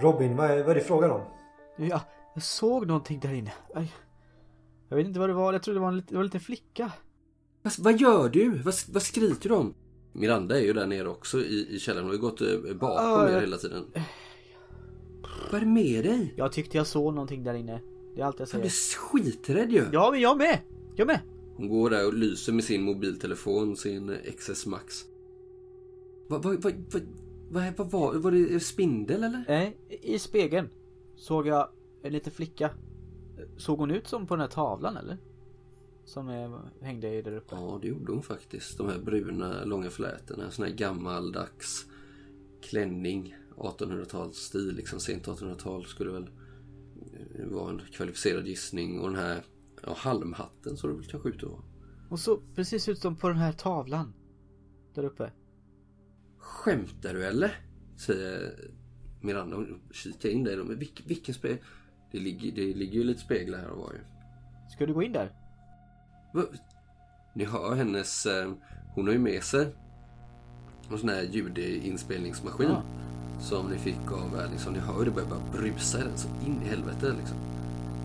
Robin, vad är, vad är det frågan om? Ja, jag såg någonting där inne. Aj. Jag vet inte vad det var. Jag trodde det var en, lit- det var en liten flicka. Vad, vad gör du? Vad, vad skriker du om? Miranda är ju där nere också i, i källaren. Hon har ju gått eh, bakom Ah, er jag- hela tiden. Vad är det med dig? Jag tyckte jag såg någonting där inne. Det är allt jag Jag blir säger. skiträdd ju. Ja, men jag med! Jag med! Hon går där och lyser med sin mobiltelefon, sin eh, XS Max. Vad vad vad vad vad vad var, var det en spindel eller? Nej, i spegeln såg jag en liten flicka. Såg hon ut som på den här tavlan eller? Som eh, hängde där uppe. Ja, det gjorde hon faktiskt. De här bruna, långa flätorna. Sån här gammaldags klänning. 1800-talsstil, liksom sent 1800-tal skulle väl eh, vara en kvalificerad gissning. Och den här ja, halmhatten såg det väl kanske ut att vara. Hon såg precis ut som på den här tavlan. Där uppe. Skämtar du eller? Säger Miranda. Hon kikar in där. Men vilk, vilken spegel? Det ligger, det ligger ju lite speglar här och var ju. Ska du gå in där? Va? Ni hör hennes... eh, Hon har ju med sig en sån här ljudinspelningsmaskin. Ja. Som ni fick av eh, liksom, ni hör ju det börjar bara brusa i den så in i helvete liksom.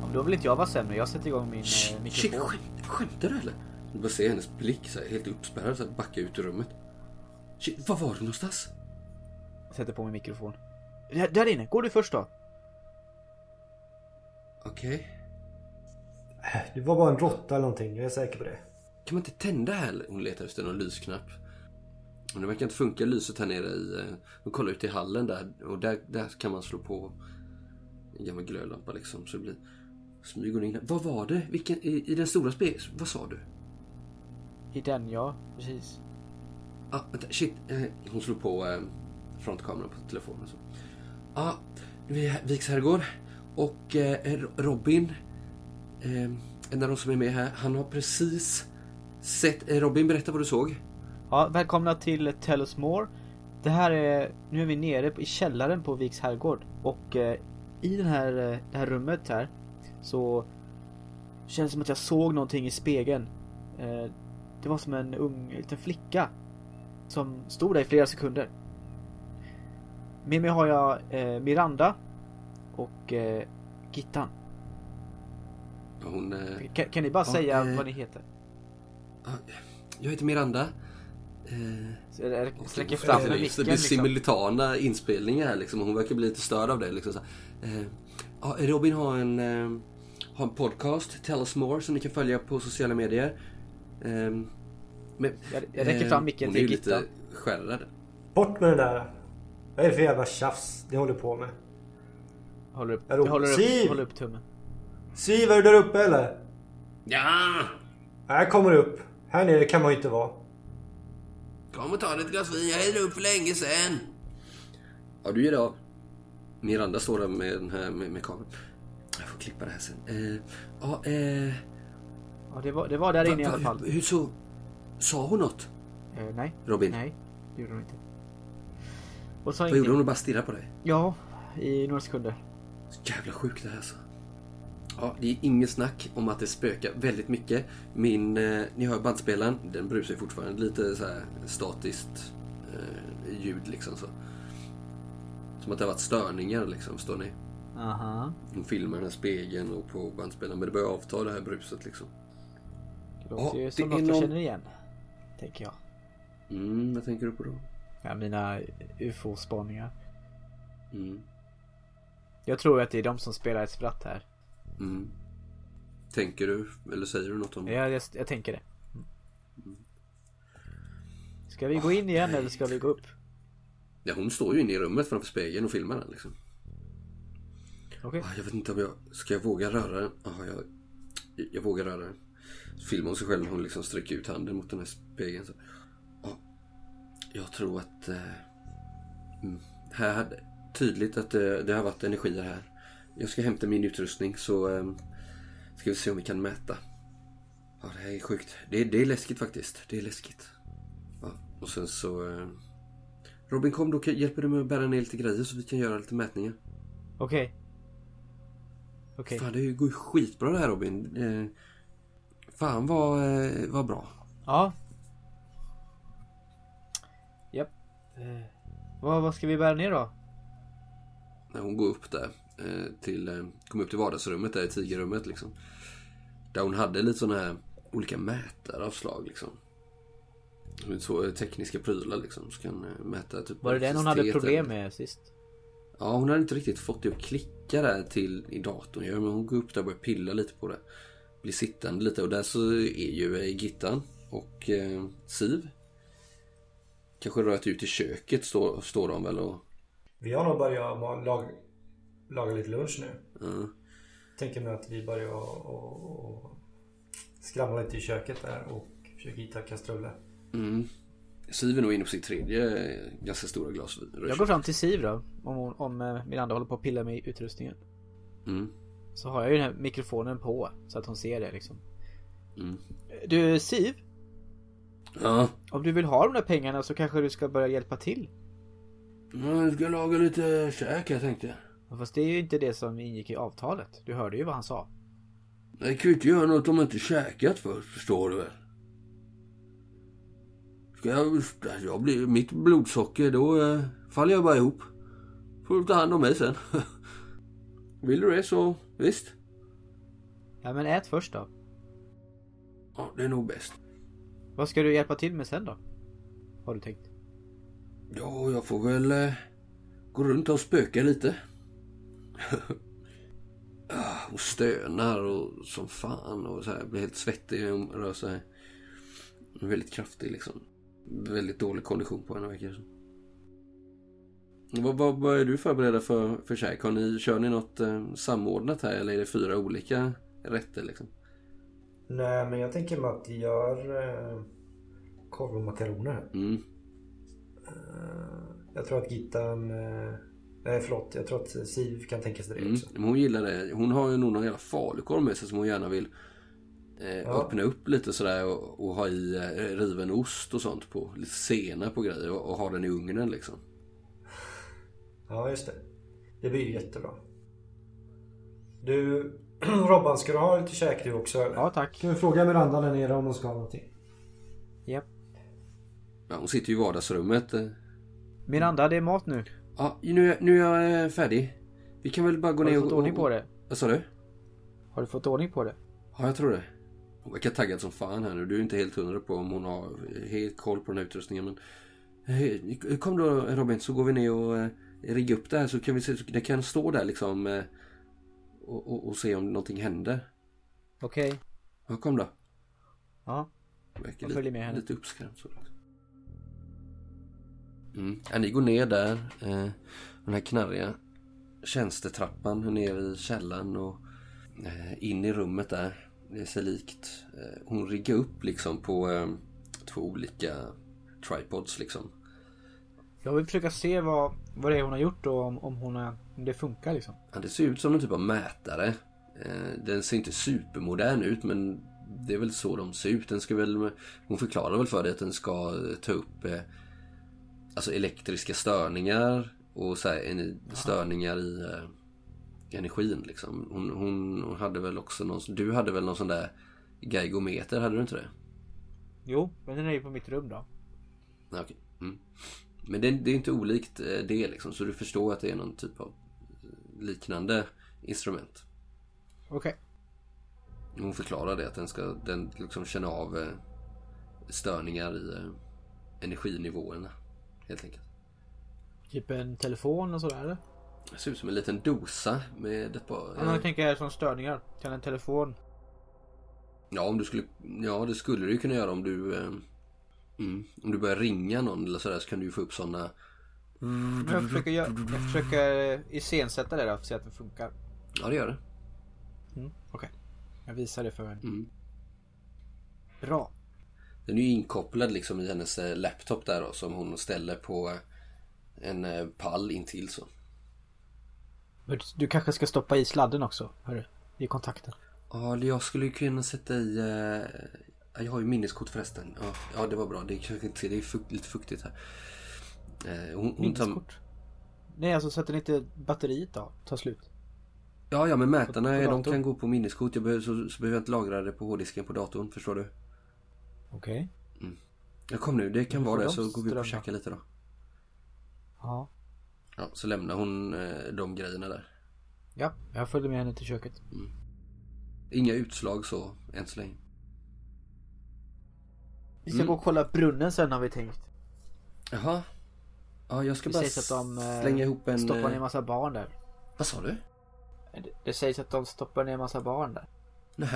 Ja, men då vill inte jag vara sämre. Jag sätter igång min eh, Shit, shit mikrofon. skämt, skämtar du eller? Du bara ser hennes blick så här, helt uppspärrad så här, backa ut ur rummet. Shit, var var du någonstans? Sätter på min mikrofon. Där, där inne! Går du först då? Okej. Det var bara en råtta eller någonting, jag är säker på det. Kan man inte tända här? eller? Hon letar efter någon lysknapp. Men det verkar inte funka lyset här nere i... eh, De kollar ut i hallen där och där, där kan man slå på en gammal glödlampa liksom. Så det blir... Smyger hon in där. Vad var det? Vilken, i, I den stora spegeln? Vad sa du? I den ja, precis. Ah, vänta, shit. Eh, hon slår på eh, frontkameran på telefonen. Så. Ah, vi är Viks herrgård och eh, Robin, eh, en av de som är med här, han har precis sett... Eh, Robin, berätta vad du såg. Ja, välkomna till Tell us more. Det här är, nu är vi nere i källaren på Viks herrgård och eh, i den här, eh, det här rummet här så känns det som att jag såg någonting i spegeln. Eh, det var som en ung en liten flicka som stod där i flera sekunder. Med mig har jag eh, Miranda och eh, Gittan. Hon... Eh, Kan, kan ni bara Ja, säga eh, vad ni heter? Ja, Jag heter Miranda. Eh, Så är det- och Sträcker så- fram så med det blir micken liksom. simultana inspelningar här liksom. Hon verkar bli lite störd av det liksom. Så, här. eh, ja, Robin har en, eh, har en podcast, Tell Us More, som ni kan följa på sociala medier. Eh, men, eh, Jag, jag räcker fram micken till Gittan. Hon är ju lite skärrad. Bort med den där! Vad är det för jävla tjafs ni håller på med? Håller upp, Hallå, jag håller upp, Siv! håller upp tummen. Siv, är du där uppe eller? Ja! Här kommer du upp. Här nere kan man ju inte vara. Kom och ta dig ett glas vin, jag hällde upp för länge sen. Ja, du ger dig av. Miranda står där med, den här, med, med kameran. Jag får klippa det här sen. Eh, ja, eh, Ja, det var, det var där inne i Va- alla va- fall. Hur så... Sa hon något? Eh, nej. Robin? Nej, det gjorde hon inte. Och sa Vad gjorde ingenting. hon och bara stirrade på dig? Ja, i några sekunder. Så jävla sjukt det här alltså. Ja, det är inget snack om att det spökar väldigt mycket. Min, eh, ni hör bandspelaren, den brusar ju fortfarande lite så här statiskt eh, ljud liksom så. Som att det har varit störningar liksom, förstår ni? Aha. De filmar den här spegeln och på bandspelaren, men det börjar avta det här bruset liksom. Det låter Ja, ju det som är något jag någon- känner igen. Tänker jag. Mm, vad tänker du på då? Ja, mina ufo-spaningar. Mm. Jag tror att det är de som spelar ett spratt här. Mm. Tänker du, eller säger du något om Jag, jag, jag tänker det. Ska vi gå in igen eller ska vi gå upp? Ja, hon står ju inne i rummet framför spegeln och filmar den liksom. Okej. Ah, Jag vet inte om jag... Ska jag våga röra den? Ah, jag... jag vågar röra den. Så filmar hon sig själv hon liksom sträcker ut handen mot den här spegeln. Så. Ah. Jag tror att... Eh, mm, här hade, tydligt att det, det har varit energier här. Jag ska hämta min utrustning så eh, ska vi se om vi kan mäta. Ja, det här är sjukt. Det, det är läskigt faktiskt. Det är läskigt. Ja, och sen så... Eh, Robin kom då kan- hjälper du mig att bära ner lite grejer så vi kan göra lite mätningar. Okej. Okej. Fan det går ju skitbra det här Robin. Eh, fan vad, eh, vad bra. Ja. Japp. Eh, vad, vad ska vi bära ner då? när hon går upp där eh, till, eh, kom upp till vardagsrummet där i tigerrummet liksom. Där hon hade lite sådana här olika mätare av slag liksom. Med Så eh, tekniska prylar liksom. Så kan eh, mäta typ Var det den hon hade elektricitet problem eller- med sist? Ja, hon hade inte riktigt fått det att klicka där till i datorn. Ja, men hon går upp där och börjar pilla lite på det. Blir sittande lite och där så är ju eh, Gittan och eh, Siv. Kanske rört ut i köket står, står de väl och... Vi har nog börjat ma- lag, laga lite lunch nu. Ja. Tänker mig att vi börjar och, och, och skramla lite i köket där och försöker hitta kastruller. Mm. Siv är nog inne på sitt tredje eh, ganska stora glas vin. Jag går fram till Siv då. Om, hon, om eh, Miranda håller på att pilla med utrustningen. Mm. Så har jag ju den här mikrofonen på. Så att hon ser det liksom. Mm. Du Siv. Ja. Om du vill ha de där pengarna så kanske du ska börja hjälpa till. Jag ska laga lite käk jag tänkte. Ja, Fast det är ju inte det som ingick i avtalet. Du hörde ju vad han sa. Jag kan ju inte göra något om jag inte käkat först, förstår du väl? Ska jag... jag blir, mitt blodsocker, då eh, faller jag bara ihop. Får du ta hand om mig sen. Vill du det så, visst. Ja men ät först då. Ja, det är nog bäst. Vad ska du hjälpa till med sen då? Har du tänkt? Ja, jag får väl eh, gå runt och spöka lite. Ah, Hon stönar och som fan och så här, blir helt svettig när hon rör sig. Hon är Väldigt kraftig liksom. Väldigt dålig kondition på henne verkar det som. Vad, vad, vad är du förberedda för, för käk? Har ni, kör ni något eh, samordnat här eller är det fyra olika rätter liksom? Nej, men jag tänker mig att vi gör eh, korv och makaroner. Mm. Eh, jag tror att Gittan... Eh, nej, förlåt. Jag tror att Siv kan tänka sig det Mm. också. Men hon gillar det. Hon har ju nog någon jävla falukorv med sig som hon gärna vill eh, Ja. öppna upp lite sådär och, och ha i eh, riven ost och sånt på. Lite senap och grejer och, och ha den i ugnen liksom. Ja, just det. Det blir ju jättebra. Du, Robban, ska du ha lite käk du också? Eller? Ja tack. Kan vi fråga Miranda där nere om hon ska ha någonting? Japp. Ja, hon sitter ju i vardagsrummet. eh. Miranda det är mat nu. Ja, nu, är- nu är jag eh, färdig. Vi kan väl bara gå Har ner du och... fått ordning på och- det? Vad sa du? Har du fått ordning på det? Ja, jag tror det. Hon verkar taggad som fan här nu. Du är inte helt hundra på om hon har helt koll på den här utrustningen. Men... Hej, Kom då Robin så går vi ner och eh, riggar upp det här så kan vi se. så- Det kan stå där liksom. eh, Och, och, och se om någonting händer. Okej. Ja, kom då. Ja. Verkar Jag följer med henne. lite uppskrämd. Så. Mm. Ja, ni går ner där. Eh, den här knarriga tjänstetrappan ner i källaren och eh, in i rummet där. Det ser likt. Eh, hon riggar upp liksom på eh, två olika tripods liksom. Jag vill försöka se vad, vad det är hon har gjort och om, om, hon har, om det funkar liksom. Ja, det ser ut som någon typ av mätare. Eh, Den ser inte supermodern ut men det är väl så de ser ut. Den ska väl, hon förklarar väl för dig att den ska ta upp eh, alltså elektriska störningar och så här, en, störningar i eh, energin. Liksom. Hon, hon, hon hade väl också någon, du hade väl någon sån där geigometer, hade du inte det? Jo, men den är ju på mitt rum då. Nej, okej. Mm. Men det, det är inte olikt eh, det liksom så du förstår att det är någon typ av liknande instrument. Okej. Hon förklarar det att den ska den liksom känna av eh, störningar i eh, energinivåerna. Helt enkelt. Typ en telefon och sådär eller? Det ser ut som en liten dosa med eh, ett par... Ja. Jag tänker som störningar. Kan en telefon? Ja, om du skulle... Ja, det skulle du ju kunna göra om du... Eh, mm, om du börjar ringa någon eller sådär så kan du ju få upp sådana... Men jag försöker, jag, jag försöker eh, iscensätta det då för att se att det funkar. Ja, det gör det. Mm. Okej. Jag visar det för henne. Mm. Bra. Den är ju inkopplad liksom i hennes eh, laptop där då, som hon ställer på en eh, pall intill så. Men Du kanske ska stoppa i sladden också, hörru. I kontakten. Ja, eller jag skulle ju kunna sätta i... eh, ja, Jag har ju minneskort förresten. Ja, ja det var bra. Det kanske inte det är fukt, lite fuktigt här. Eh, Hon, hon tar, Minneskort. Nej, alltså sätter ni inte batteriet då? Tar slut. ja, ja, men mätarna På- på de datorn. kan gå på minneskort. Jag behöver, så, så behöver jag inte lagra det på hårddisken på datorn. Förstår du? Okej. Ja, kom nu. Det kan Då får vara det. de Så går vi upp strömma. och käkar lite då. Ja. Ja, så lämnar hon eh, de grejerna där. Ja, jag följer med henne till köket. Inga utslag så än så länge. Vi ska Mm. gå och kolla brunnen sen har vi tänkt. Jaha. Ja, jag ska Det bara sägs att de, eh, slänga ihop en... Stoppar eh, ner massa barn där. Vad sa du? Det, det sägs att de stoppar ner massa barn där. Nej.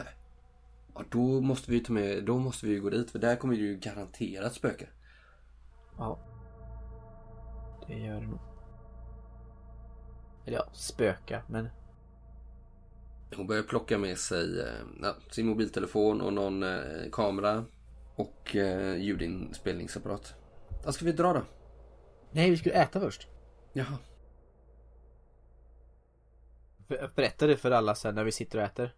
Ja, då måste vi ju ta med, då måste vi ju gå dit för där kommer det ju garanterat spöka. Ja. Det gör det nog. Eller ja, spöka, men... Hon börjar plocka med sig eh, ja, sin mobiltelefon och någon eh, kamera och eh, ljudinspelningsapparat. Ja, ska vi dra då? Nej, vi skulle äta först. Jaha. För- Berätta det för alla sen när vi sitter och äter.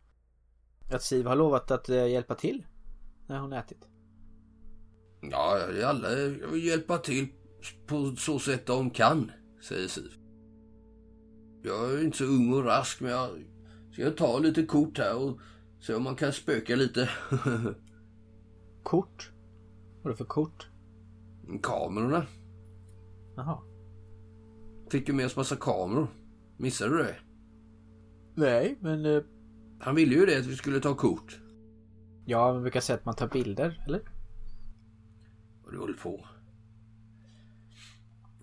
Att Siv har lovat att eh, hjälpa till. När hon ätit. Ja, alla vill hjälpa till på så sätt de kan, säger Siv. Jag är inte så ung och rask men jag ska ta lite kort här och se om man kan spöka lite. Kort? Vad är det för kort? Kamerorna. Jaha. Fick ju med oss massa kameror. Missade du det? Nej, men... eh, Han ville ju det att vi skulle ta kort. Ja, man brukar säga att man tar bilder, eller? Och du höll på.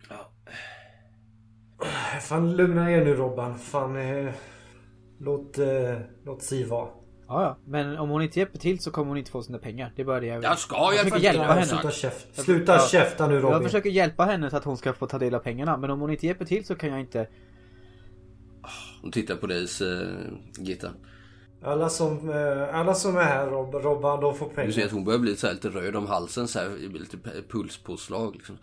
Ja. Fan lugna er nu Robban. Fan eh, låt, eh, låt Siv vara. Ja, ja. Men om hon inte hjälper till så kommer hon inte få sina pengar. Det är bara det jag vill. Jag ska Jag försöker hjälpa till. hjälpa har jag henne. Sluta, sagt. käft, sluta Ja. käfta nu Jag Robin. försöker hjälpa henne så att hon ska få ta del av pengarna. Men om hon inte hjälper till så kan jag inte... Hon tittar på dig, eh, Gitta. Alla, som, eh, alla som är här Rob, Robban, de får Du ser att pengar. hon börjar bli så här lite röd om halsen. Så här, det blir lite p- pulspåslag. Liksom.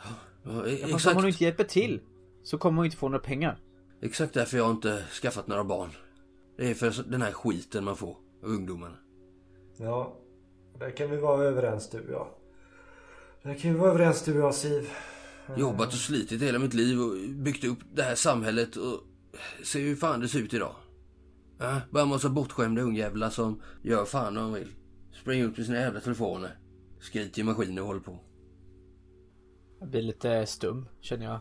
Ja, e- Fast om exakt, hon inte hjälper till så kommer hon inte få några pengar. exakt därför jag inte skaffat några barn. Det är för den här skiten man får av ungdomarna. Ja, där kan vi vara överens du och jag. Där kan vi vara överens du och jag Siv. Jobbat och slitit hela mitt liv och byggt upp det här samhället och se hur fan det ser ut idag. Äh, bara massa bortskämda ungjävlar som gör fan vad de vill. Springer ut med sina jävla telefoner. Skriker i maskiner och håller på. Jag blir lite stum, känner jag.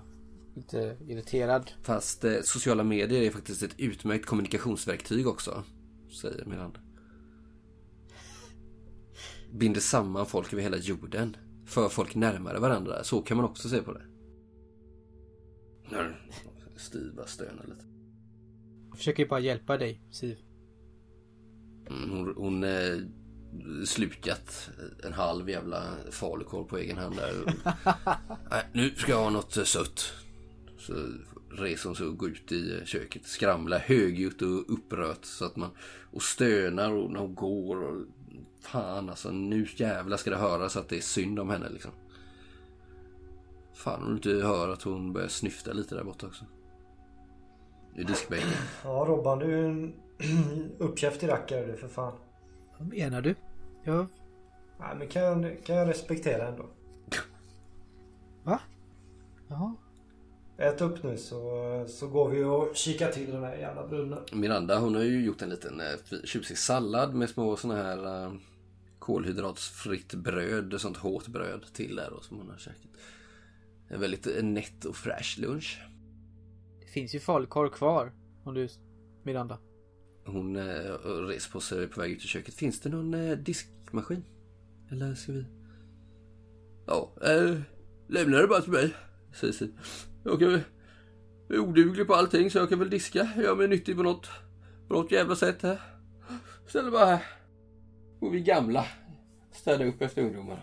Lite irriterad. Fast eh, sociala medier är faktiskt ett utmärkt kommunikationsverktyg också. Säger Miranda. Binder samman folk över hela jorden. För folk närmare varandra. Så kan man också se på det. Steve bara stönar lite. Jag försöker ju bara hjälpa dig, Siv. Mm, Hon, hon eh, slukat en halv jävla falukorv på egen hand där. Nej, nu ska jag ha något eh, sött. Så reser hon sig och går ut i eh, köket. Skramlar högljutt och upprört så att man... Och stönar och när hon går och... Fan alltså, nu jävla ska det höras att det är synd om henne liksom. Fan om du inte hör att hon börjar snyfta lite där borta också. I diskbänken. Ja Robban, du är en uppkäftig rackare du för fan. Vad menar du? Jag... Nej men kan, kan jag respektera ändå. Va? Jaha. Ät upp nu så, så går vi och kikar till den här jävla brunnen. Miranda hon har ju gjort en liten eh, fi- tjusig sallad med små såna här eh, kolhydratsfritt bröd, sånt hårt bröd till där då som hon har käkat. En väldigt eh, nätt och fräsch lunch. Det finns ju falukorv kvar. Om du... Miranda. Hon eh, reser på sig på väg ut i köket. Finns det någon eh, diskmaskin? Eller ska vi... Ja, eh, lämna det bara till mig, säger Siv. Jag kan väl... Jag är oduglig på allting så jag kan väl diska. Jag är mig nyttig på något, på något jävla sätt här. Ställer bara här. Och vi gamla städar upp efter ungdomarna.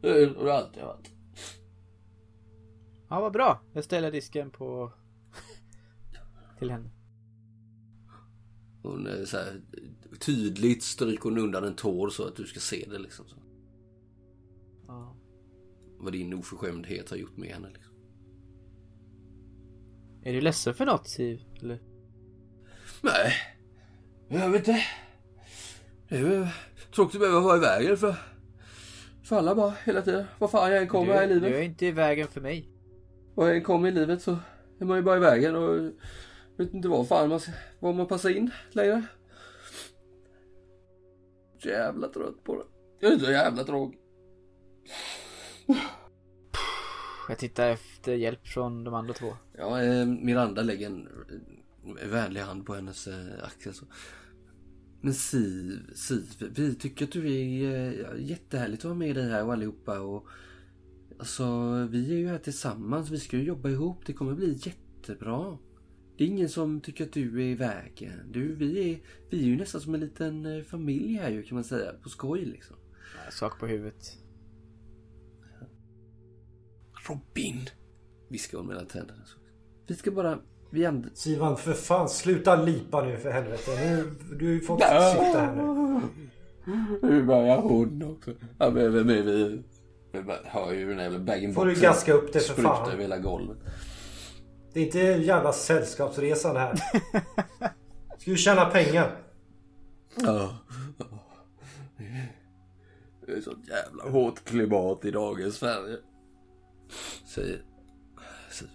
Det har det alltid varit. Ja, vad bra. Jag ställer disken på... till henne. Hon är så här, tydligt stryker hon undan en tår så att du ska se det liksom. Så. vad din oförskämdhet har gjort med henne. Liksom. Är du ledsen för något Siv? Eller? Nej, jag vet inte. Det är väl tråkigt att behöva vara i vägen för, för alla bara hela tiden. Vad fan jag än kommer du, här i livet. Du är inte i vägen för mig. Vad jag än kommer i livet så är man ju bara i vägen och jag vet inte vad fan man, var man passar in längre. Jävla trött på det. Jag är så jävla tråkig. Jag tittar efter hjälp från de andra två. Ja, eh, Miranda lägger en eh, vänlig hand på hennes eh, axel. Så. Men Siv, Siv, vi tycker att du är eh, ja, jättehärligt att vara med dig här och allihopa. Och, alltså, vi är ju här tillsammans. Vi ska ju jobba ihop. Det kommer bli jättebra. Det är ingen som tycker att du är i vägen. Du, vi, är, vi är ju nästan som en liten eh, familj här ju kan man säga. På skoj liksom. Sak på huvudet. Robin! Viskar hon mellan tänderna. Vi ska bara... Vi and- Sivan, för fan sluta lipa nu för helvete. Nu, du har ju fått sitta här nu. Nu börjar hon också. Ja, men, men, men, vi, vi bara hör ju den här jävla bag Får du gaska upp det för fan. över hela golvet. Det är inte jävla sällskapsresan här. Ska ju tjäna pengar. Ja. ja. Det är sånt jävla hårt klimat i dagens Sverige. Säger... säger-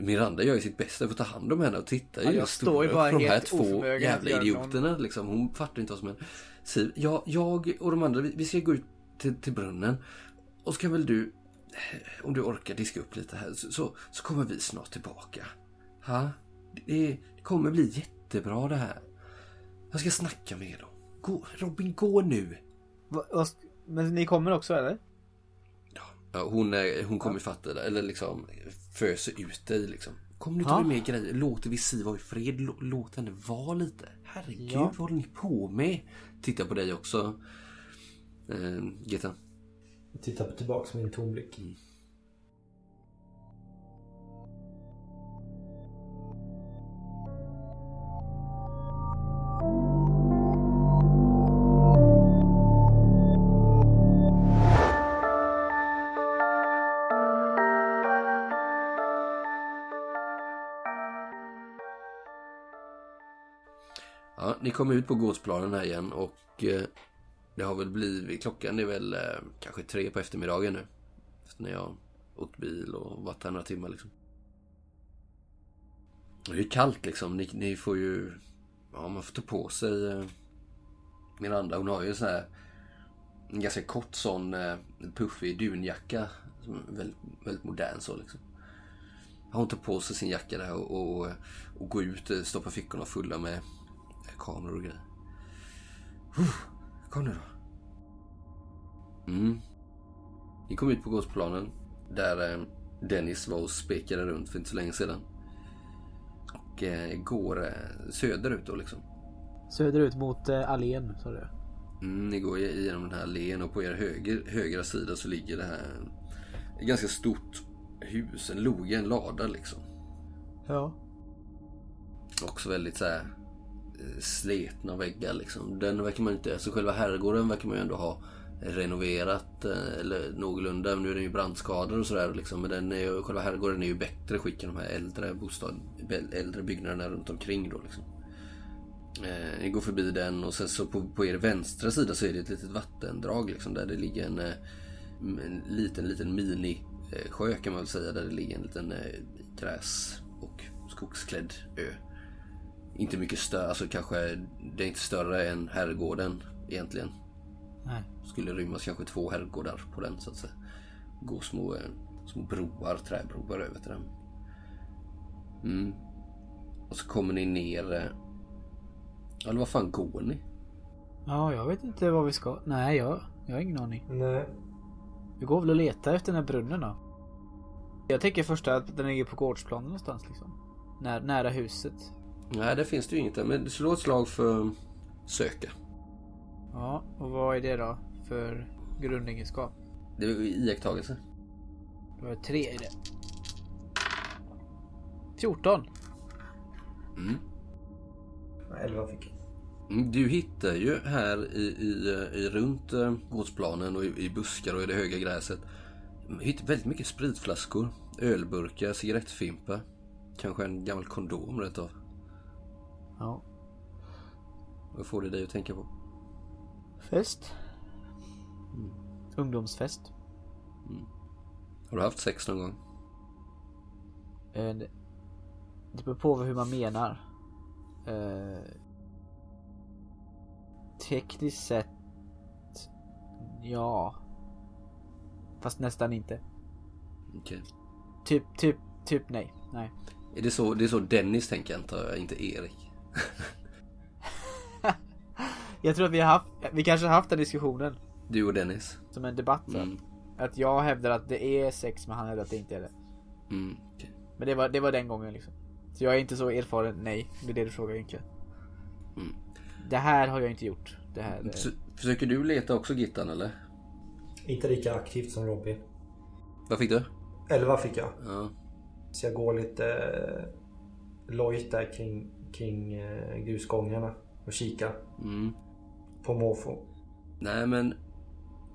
Miranda gör ju sitt bästa för att ta hand om henne och titta Ja, i jag hur står ju stora bara för de här helt två oförmögen att jävla göra idioterna. Liksom. Hon fattar inte vad som händer. Siv, jag, jag och de andra, vi, vi ska gå ut till, till brunnen. Och så kan väl du, eh, om du orkar diska upp lite här, så, så, så kommer vi snart tillbaka. Ha? Det, det kommer bli jättebra det här. Jag ska snacka med dem. Gå, Robin, gå nu. Va, vad sk- men ni kommer också eller? Ja, hon, är- hon kommer ju fatta det, eller liksom föser ut dig liksom. Kom nu Ja. ta med grejer, låter vi Siv vara i fred, Lå- låt henne vara lite. Herregud, Ja. vad håller ni på med? Titta på dig också. Eh, Geta. Titta tillbaks med en tom blick. Ja, ni kommer ut på gårdsplanen här igen och eh, det har väl blivit, klockan är väl eh, kanske tre på eftermiddagen nu. Efter när jag har åkt bil och varit här några timmar liksom. Det är ju kallt liksom, ni, ni får ju, ja man får ta på sig eh, Miranda, hon har ju en sån här en ganska kort sån eh, puffig dunjacka. Som är väldigt, väldigt modern så liksom. Hon tar på sig sin jacka där och, och, och går ut, eh, stoppar fickorna fulla med kameror och grejer. Uff, kom nu då. Mm. Ni kom ut på gårdsplanen där eh, Dennis var och spekade runt för inte så länge sedan. Och eh, går eh, söderut då liksom. Söderut mot eh, allén sa du. Mm, ni går i- genom den här allén och på er höger, högra sida så ligger det här eh, ett ganska stort hus, en loge, en lada liksom. Ja. Också väldigt så här eh, sletna väggar liksom. Den verkar man inte, alltså själva herrgården verkar man ju ändå ha renoverat eh, eller någorlunda. Nu är den ju brandskadad och sådär liksom. Men den är ju, själva herrgården är ju i bättre skick än de här äldre bostad, äldre byggnaderna runt omkring då liksom. Eh, ni går förbi den och sen så på, på er vänstra sida så är det ett litet vattendrag liksom där det ligger en, eh, en liten, liten mini eh, sjö kan man väl säga där det ligger en liten eh, gräs och skogsklädd ö. Inte mycket större, alltså kanske det är inte större än herrgården egentligen. Nej. Skulle rymmas kanske två herrgårdar på den så att säga. Gå små, eh, små broar, träbroar över till den. Mm. Och så kommer ni ner eh, Ja, Eller vad fan går ni? Ja, jag vet inte vad vi ska. Nej, jag, jag har ingen aning. Nej. Vi går väl och letar efter den här brunnen då. Jag tänker först att den ligger på gårdsplanen någonstans liksom. När, nära huset. Nej, det finns det ju inget där. Men slå ett slag för söka. Ja, och vad är det då för grundegenskap? Det är ju iakttagelse. Det var tre i det. 14. Mm. Elva fick jag. Mm, Du hittar ju här i, i, eh, i runt eh, gårdsplanen och i, i buskar och i det höga gräset hittar väldigt mycket spritflaskor, ölburkar, cigarettfimpar. Kanske en gammal kondom rätt av. Ja. Vad får det dig att tänka på? Fest. Mm. Ungdomsfest. Har du haft sex någon gång? Eh, det- Det beror på hur man menar. Eh, tekniskt sett, ja. Fast nästan inte. Okej. Typ, typ, typ nej. Nej. Är det, så, det är så Dennis tänker antar jag, inte Erik. Jag tror att vi har haft, vi kanske har haft den diskussionen Du och Dennis? som en debatt. så Mm. Att jag hävdar att det är sex men han hävdar att det inte är det. Mm. okej. Men det var, det var den gången liksom. Så jag är inte så erfaren, nej. Det är det du frågar egentligen. Mm. Det här har jag inte gjort. Det här. eh, Så, försöker du leta också Gittan eller? Inte lika aktivt som Robbie. Vad fick du? 11 fick jag. Ja. Så jag går lite eh, lojt där kring, kring eh, grusgångarna och kikar Mm. på måfå. Nej men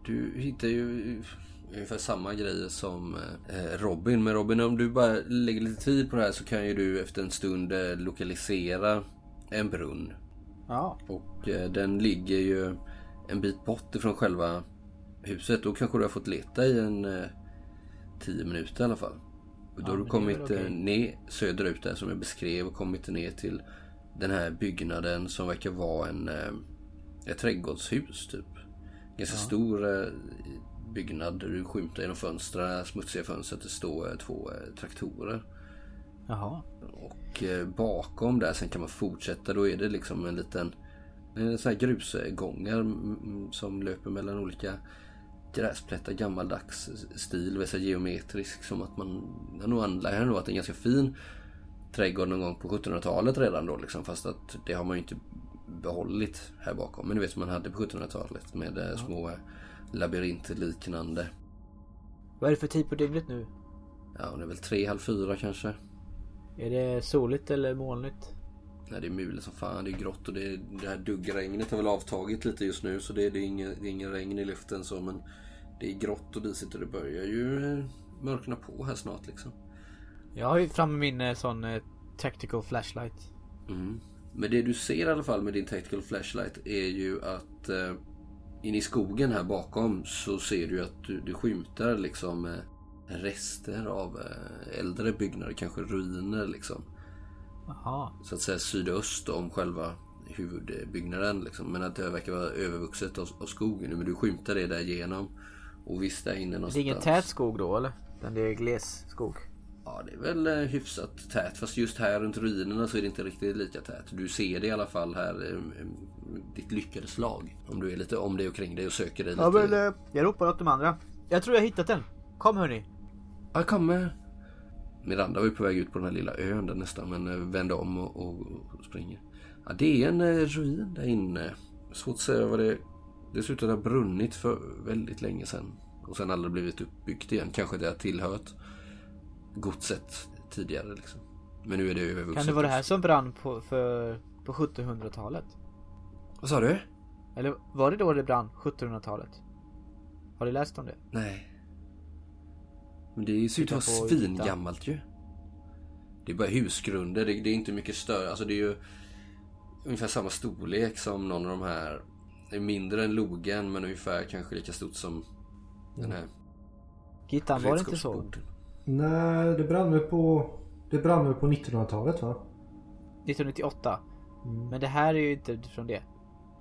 du hittar ju ungefär samma grejer som eh, Robin. Men Robin om du bara lägger lite tid på det här så kan ju du efter en stund eh, lokalisera en brunn. Ja. Och eh, den ligger ju en bit bort ifrån själva huset. Då kanske du har fått leta i en eh, 10 minuter i alla fall. Och då Ja, men har du det är kommit väl okej. eh, ner söderut där som jag beskrev och kommit ner till den här byggnaden som verkar vara en, eh, ett trädgårdshus typ. Ganska stor eh, byggnad. där Du skymtar genom fönstren, smutsiga fönster, att det står eh, två eh, traktorer. Jaha. Och eh, bakom där sen kan man fortsätta. Då är det liksom en liten en sån här grusgångar mm, mm, som löper mellan olika gräsplättar gammaldags stil, väldigt så här geometrisk som att man har nog anlagt nog att det är en ganska fin trädgård någon gång på 1700-talet redan då liksom fast att det har man ju inte behållit här bakom. Men du vet som man hade på 1700-talet med eh, små eh, labyrintliknande. Vad är det för tid på dygnet nu? Ja, det är väl tre, halv fyra kanske. Är det soligt eller molnigt? Nej det är mulet som fan, det är grått och det, det här duggregnet har väl avtagit lite just nu så det, det, är inget, det är ingen regn i luften så men det är grått och disigt och det börjar ju eh, mörkna på här snart liksom. Jag har ju framme min eh, sån eh, tactical flashlight. Mm. Men det du ser i alla fall med din tactical flashlight är ju att eh, in i skogen här bakom så ser du att du, du skymtar liksom eh, rester av eh, äldre byggnader, kanske ruiner liksom. Jaha. så att säga sydöst om själva huvudbyggnaden. Liksom. Men att det verkar vara övervuxet av, av skogen. Men du skymtar det där genom. Och visst där inne någonstans. Det är ingen tät skog då eller? Den det är gles skog. Ja, det är väl eh, hyfsat tät. Fast just här runt ruinerna så är det inte riktigt lika tät. Du ser det i alla fall här. eh, eh, Ditt lyckade slag. Om du är lite om dig och kring dig och söker dig lite. eh, jag ropar åt de andra. Jag tror jag har hittat den. Kom hörni. Jag kommer. Miranda var ju på väg ut på den här lilla ön där nästan men eh, vände om och, och, och springer. Ja, det är en eh, ruin där inne. Svårt att säga vad det... Det ser ut att det har brunnit för väldigt länge sedan. Och sen aldrig blivit uppbyggt igen. Kanske det har tillhört godset tidigare liksom. Men nu är det övervuxet. Kan det vara det här som brann på, för, på 1700-talet? Vad sa du? Eller var det då det brann? 1700-talet? Har du läst om det? Nej. Men det ser ut Titta att vara på ytan. svingammalt ju. Det är bara husgrunder, det, det är inte mycket större. Alltså det är ju ungefär samma storlek som någon av de här. Det är mindre än logen men ungefär kanske lika stort som den här Gittan, Mm. var det inte så? redskapsborden. Nej, det brann väl på, det brann väl på 1900-talet va? 1998. Men det här är ju inte från det.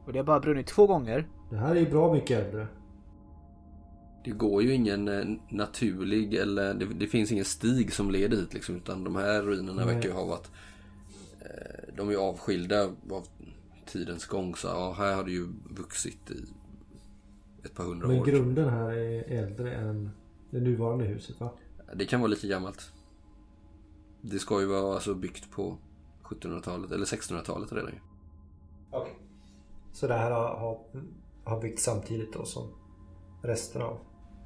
Och det har bara brunnit två gånger. Det här är ju bra mycket äldre. Det går ju ingen eh, naturlig eller det, det finns ingen stig som leder hit liksom utan de här ruinerna Nej. verkar ju ha varit eh, De är ju avskilda av tidens gång så ja, här har det ju vuxit i ett par hundra Men år. grunden här är äldre än det nuvarande huset va? Det kan vara lika gammalt. Det ska ju vara alltså byggt på 1700-talet eller 1600-talet redan ju. Okej. Så det här har, har, har byggts samtidigt då som resten av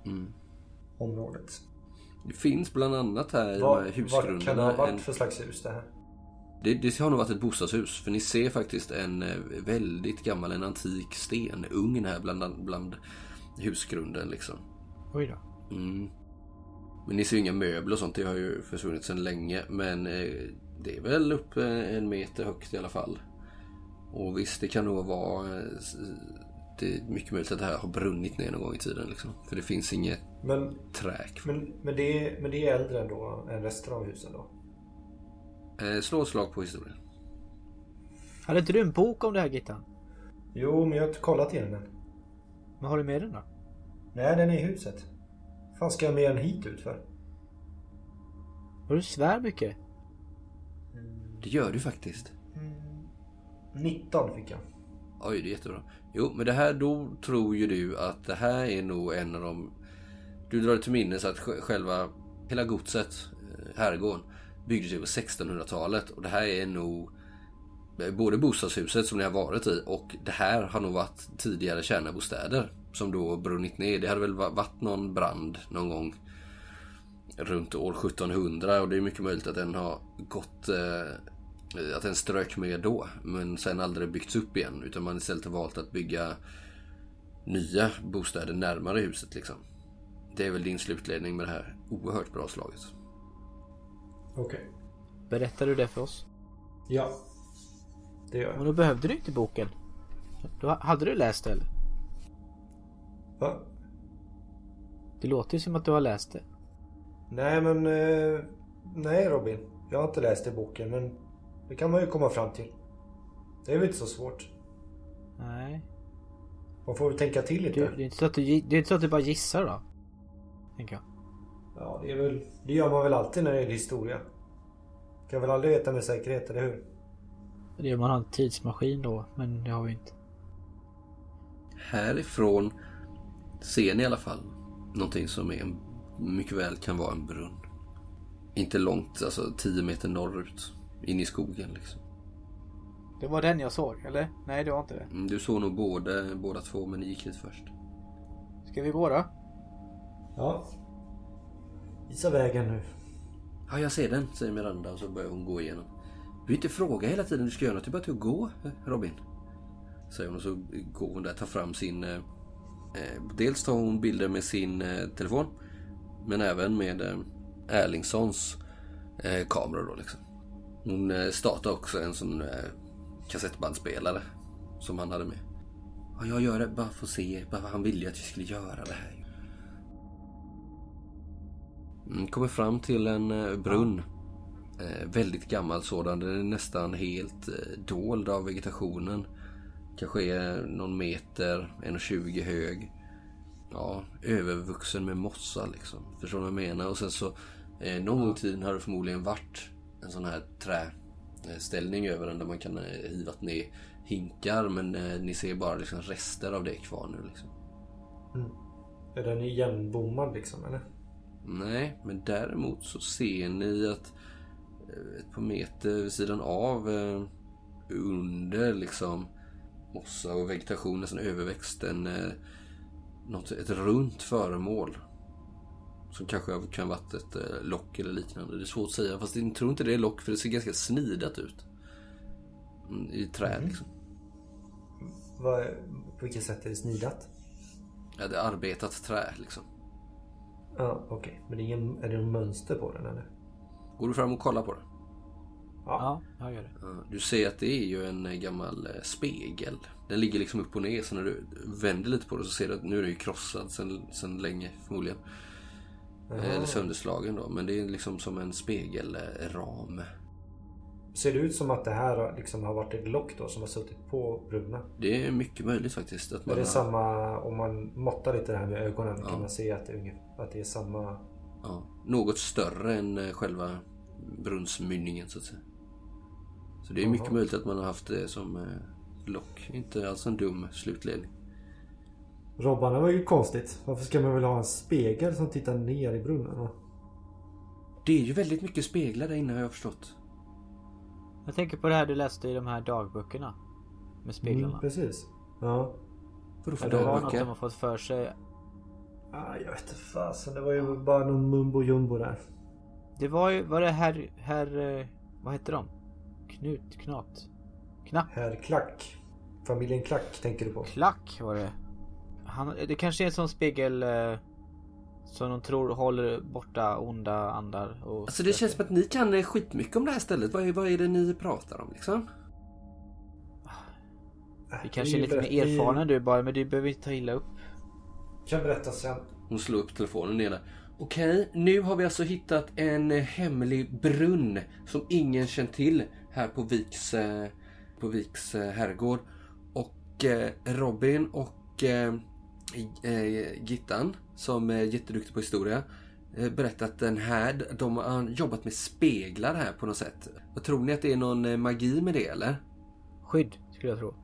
Mm. området. Det finns bland annat här i de här Vad vad kan det ha husgrunderna. varit En, för slags hus det här? det, det har nog varit ett bostadshus för ni ser faktiskt en eh, väldigt gammal, en antik stenugn här bland, bland husgrunden liksom. Oj då. Mm. Men ni ser ju inga möbler och sånt. Det har ju försvunnit sedan länge. Men eh, det är väl upp eh, en meter högt i alla fall. Och visst, det kan nog vara... eh, s- Det är mycket möjligt att det här har brunnit ner någon gång i tiden. Liksom. För det finns inget Men, träk. men, men, det, är- men det är äldre ändå än resten av husen då? Eh, slå ett slag på historien. Hade inte du en bok om det här Gittan? Jo, men jag har inte kollat in den. Men har du med den då? Nej, den är i huset. fan ska jag med den hit ut för? Har du svär mycket? Mm, Det gör du faktiskt. 19 mm. fick jag. Oj, det är jättebra. Jo, men det här, då tror ju du att det här är nog en av de... Du drar till minnes att sj- själva, hela godset, eh, herrgården, byggdes ju på 1600-talet. Och det här är nog eh, både bostadshuset som ni har varit i och det här har nog varit tidigare kärnbostäder som då brunnit ner. Det hade väl va- varit någon brand någon gång runt år 1700 och det är mycket möjligt att den har gått eh, att den strök med då men sen aldrig byggts upp igen utan man istället har valt att bygga nya bostäder närmare huset liksom. Det är väl din slutledning med det här oerhört bra slaget. Okej. Berättar du det för oss? Ja. Det gör Men jag. då behövde du inte boken. Då hade du läst det eller? Va? Det låter ju som att du har läst det. Nej, men... eh, Nej, Robin. Jag har inte läst i boken, men det kan man ju komma fram till. Det är väl inte så svårt. Nej. Man får väl tänka till lite. Du, det, är inte så att du, gi- det är inte så att du bara gissar då? Tänker jag. Ja, det, är väl, det gör man väl alltid när det är historia. Kan väl aldrig veta med säkerhet, eller hur? Det är om man har en tidsmaskin då, men det har vi inte. Härifrån ser ni i alla fall någonting som är en, mycket väl kan vara en brunn. Inte långt, alltså 10 meter norrut. In i skogen liksom. Det var den jag såg, eller? Nej, det var inte det. Mm, Du såg nog både, båda två men ni gick hit först. Ska vi gå då? Ja. Visa vägen nu. Ja, jag ser den, säger Miranda och så börjar hon gå igenom. Du vill inte fråga hela tiden du ska göra något, du bara till att gå, eh, Robin. Säger hon och så går hon där, tar fram sin... eh, eh, Dels tar hon bilder med sin eh, telefon. Men även med eh, Erlingssons eh, kamera då liksom. Hon eh, startar också en sån eh, kassettbandspelare som han hade med. Ja, jag gör det bara för att se, bara han ville ju att vi skulle göra det här. Mm, Kommer fram till en eh, brunn. Eh, väldigt gammal sådan. Den är nästan helt eh, dold av vegetationen. Kanske är någon meter, 1,20 hög. Ja, övervuxen med mossa liksom. Förstår du vad jag menar? Och sen så, eh, någon gång i tiden har det förmodligen varit en sån här träställning över den där man kan eh, hivat ner hinkar. Men eh, ni ser bara liksom rester av det kvar nu liksom. Är den igenbommad liksom, eller? Nej, men däremot så ser ni att eh, ett par meter vid sidan av eh, under liksom mossa och vegetation nästan överväxt en, eh, något, ett runt föremål. Som kanske kan varit ett eh, lock eller liknande. Det är svårt att säga fast jag tror inte det är lock för det ser ganska snidat ut. Mm, I trä liksom. Vad, på vilket sätt är det snidat? Ja, det är arbetat trä liksom. Ja, okej. Men det är, ingen, är det något mönster på den, eller? Går du fram och kollar på det? Ja, jag gör det. Ja, Du ser att det är ju en eh, gammal eh, spegel. Den ligger liksom upp och ner så när du vänder lite på det så ser du att nu är den ju krossad sen, sen länge förmodligen. Eh, Jaha. Eller sönderslagen då. Men det är liksom som en spegelram. Ser det ut som att det här har- liksom har varit ett lock då som har suttit på brunnen? Det är mycket möjligt faktiskt. Att Är man det har, samma, om man måttar lite det här med ögonen Ja. kan man se att det, är ungefär, att det är samma... ja, något större än eh, själva brunnsmynningen så att säga. Så det är mycket Jaha. möjligt att man har haft det som eh, lock. Inte alls en dum slutledning. Robban, det var ju konstigt. Varför ska man väl ha en spegel som tittar ner i brunnen? va? Det är ju väldigt mycket speglar där inne har jag förstått. Jag tänker på det här du läste i de här dagböckerna. Med speglarna. Mm, precis. Ja. Vadå för Ja, det var Det var något dagböcker? de har fått för sig. Ah, jag vet inte fasen, det var ju bara någon mumbo jumbo där. Det var ju, var det herr, herr, eh, vad hette de? Knut, Knat, Knapp, Herr Klack. Familjen Klack tänker du på. Klack var det. Han, det kanske är en sån spegel eh, Som de tror håller borta onda andar och... Alltså det känns som att ni kan eh, skitmycket om det här stället. Vad är, vad är det ni pratar om liksom? Äh, Vi kanske är lite mer erfarna än du bara, men du behöver inte ta illa upp. Kan berätta sen. Hon slår upp telefonen ena. Okej, nu har vi alltså hittat en eh, hemlig brunn som ingen känt till här på Viks, eh, på Viks eh, herrgård. Och eh, Robin och eh, eh, Gittan, som är jätteduktig på historia, eh, berättat att den här, de har jobbat med speglar här på något sätt. Vad tror ni att det är någon eh, magi med det eller? Skydd, skulle jag tro.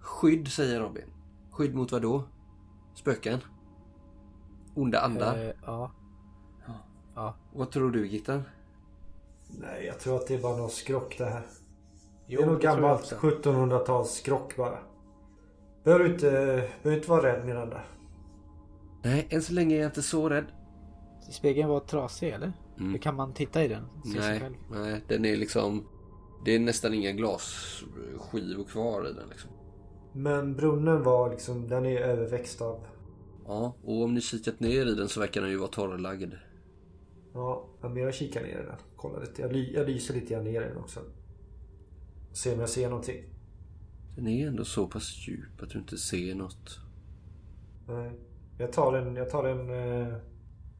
Skydd säger Robin. Skydd mot vad då? Spöken? Onda andar? Eh, ja. Vad tror du Gittan? Nej, jag tror att det är bara någon skrock det här. Jo, det är det något tror jag gammalt också. 1700-tals skrock bara. Behöver du inte, behöver inte vara rädd Miranda. Nej, än så länge är jag inte så rädd. Spegeln var trasig eller? Mm. Hur kan man titta i den? Se sig Nej, själv. nej, den är liksom... Det är nästan inga glasskivor kvar i den liksom. Men brunnen var liksom, den är överväxt av... Ja, och om ni kikat ner i den så verkar den ju vara torrlagd. Ja, men jag kikar ner i den. Kollar lite. Jag, ly, jag lyser lite grann ner i den också. Ser om jag ser någonting. Den är ändå så pass djup att du inte ser något. Nej. Jag tar en, jag tar en... Eh,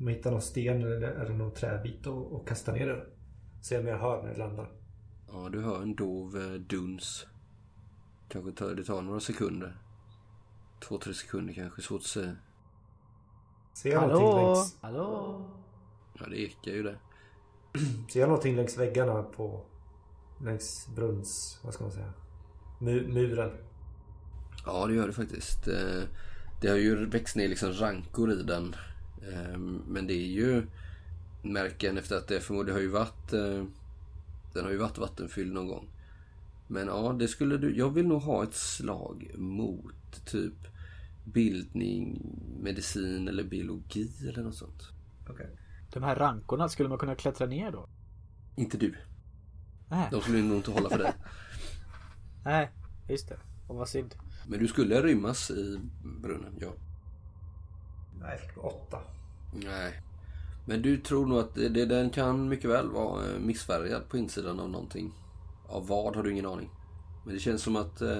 om jag hittar någon sten eller, eller någon träbit och, och kastar ner den. Se om jag hör när det landar. Ja, du hör en dov eh, duns. Kanske tar, det tar några sekunder. Två, tre sekunder kanske, svårt att säga. Ser jag, någonting Hallå? längs, Hallå? Ja, det ekar ju det. ser jag någonting längs väggarna på... Längs brunns... Vad ska man säga? Mu, muren. Ja, det gör det faktiskt. Eh, Det har ju växt ner liksom rankor i den. Eh, Men det är ju märken efter att det förmodligen har ju varit... eh, Den har ju varit vattenfylld någon gång. Men ja, det skulle du... Jag vill nog ha ett slag mot typ bildning, medicin eller biologi eller något sånt. De här rankorna, skulle man kunna klättra ner då? Inte du. Nej, De skulle nog inte hålla för dig. nej, just det. Och vad synd. Men du skulle rymmas i brunnen, ja. Nej, jag fick åtta. Nej. Men du tror nog att det, det, den kan mycket väl vara eh, missfärgad på insidan av någonting. Av vad har du ingen aning. Men det känns som att eh,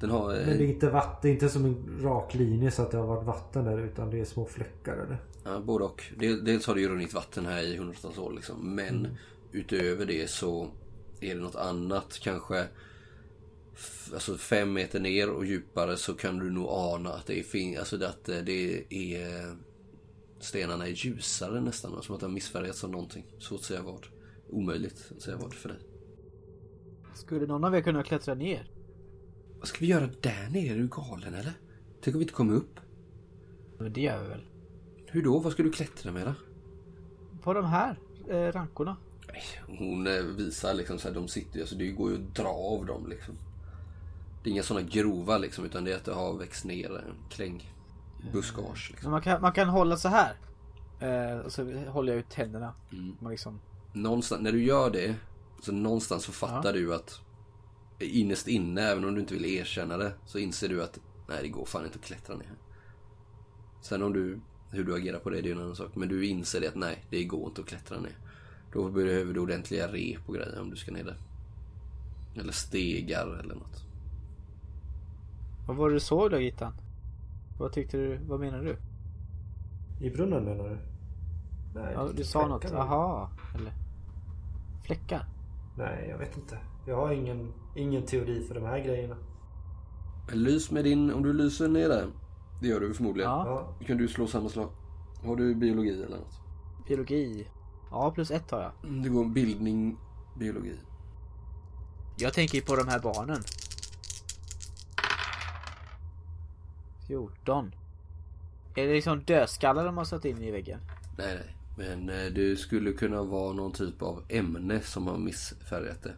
den har... eh, Men det är inte vatten, det är inte som en rak linje så att det har varit vatten där utan det är små fläckar eller? Ja, både och. Del- Dels har det ju runnit vatten här i hundratals år liksom. Men utöver det så är det något annat. Kanske f- alltså fem meter ner och djupare så kan du nog ana att det är, fin- alltså det- att eh, det är eh, stenarna är ljusare nästan. Som att de har missfärgats av någonting. Svårt att säga vad. Omöjligt att säga vad för dig. Skulle någon av er kunna klättra ner? Vad ska vi göra där nere? Är du galen eller? Tänk om vi inte kommer upp? Men det gör vi väl? Hur då? Vad ska du klättra med då? På de här eh, rankorna? Nej, Hon eh, visar liksom så här, de sitter ju, alltså det går ju att dra av dem liksom. Det är inga sådana grova liksom, utan det är att det har växt ner en kläng buskage liksom. Så man, kan, man kan hålla så här. Eh, och så håller jag ut händerna. Man liksom, Någonstans, när du gör det, så någonstans så fattar du att innerst inne, även om du inte vill erkänna det, så inser du att nej, det går fan inte att klättra ner. Sen om du, hur du agerar på det, det är en annan sak. Men du inser det att nej, det går inte att klättra ner. Då behöver du ordentliga rep och grejer om du ska ner där. Eller stegar eller något. vad var det du såg då Gittan? Vad tyckte du? Vad menar du? I brunnen menar du? Nej, Ja, lite du sa något. fläckar. Aha. Eller? Fläckar? Nej, jag vet inte. Jag har ingen, ingen teori för de här grejerna. Men lys med din, om du lyser ner där, det gör du förmodligen. Ja. Ja, Då kan du slå samma slag. Har du biologi eller något? Biologi. Ja, plus ett har jag. Mm, Det går bildning, biologi. Jag tänker ju på de här barnen. 14. Är det liksom dödskallar de har satt in i väggen? Nej, nej. Men eh, det skulle kunna vara någon typ av ämne som har missfärgat det.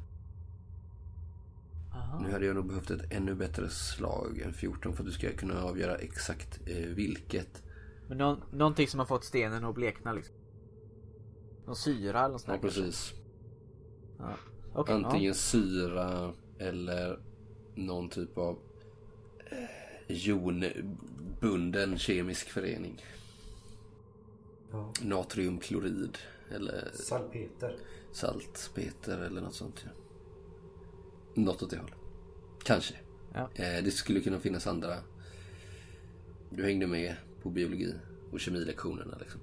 Aha. Nu hade jag nog behövt ett ännu bättre slag än 14 för att du ska kunna avgöra exakt eh, vilket. Men någon, någonting som har fått stenen att blekna liksom. Någon syra eller något sånt där Ja, precis. kanske. Ja. Okej, Antingen syra eller någon typ av eh, jonbunden kemisk förening. Ja. Natriumklorid eller Salpeter. saltpeter eller något sånt. Ja. Något åt det hållet. Kanske. Ja. Eh, det skulle kunna finnas andra. Du hängde med på biologi och kemilektionerna liksom.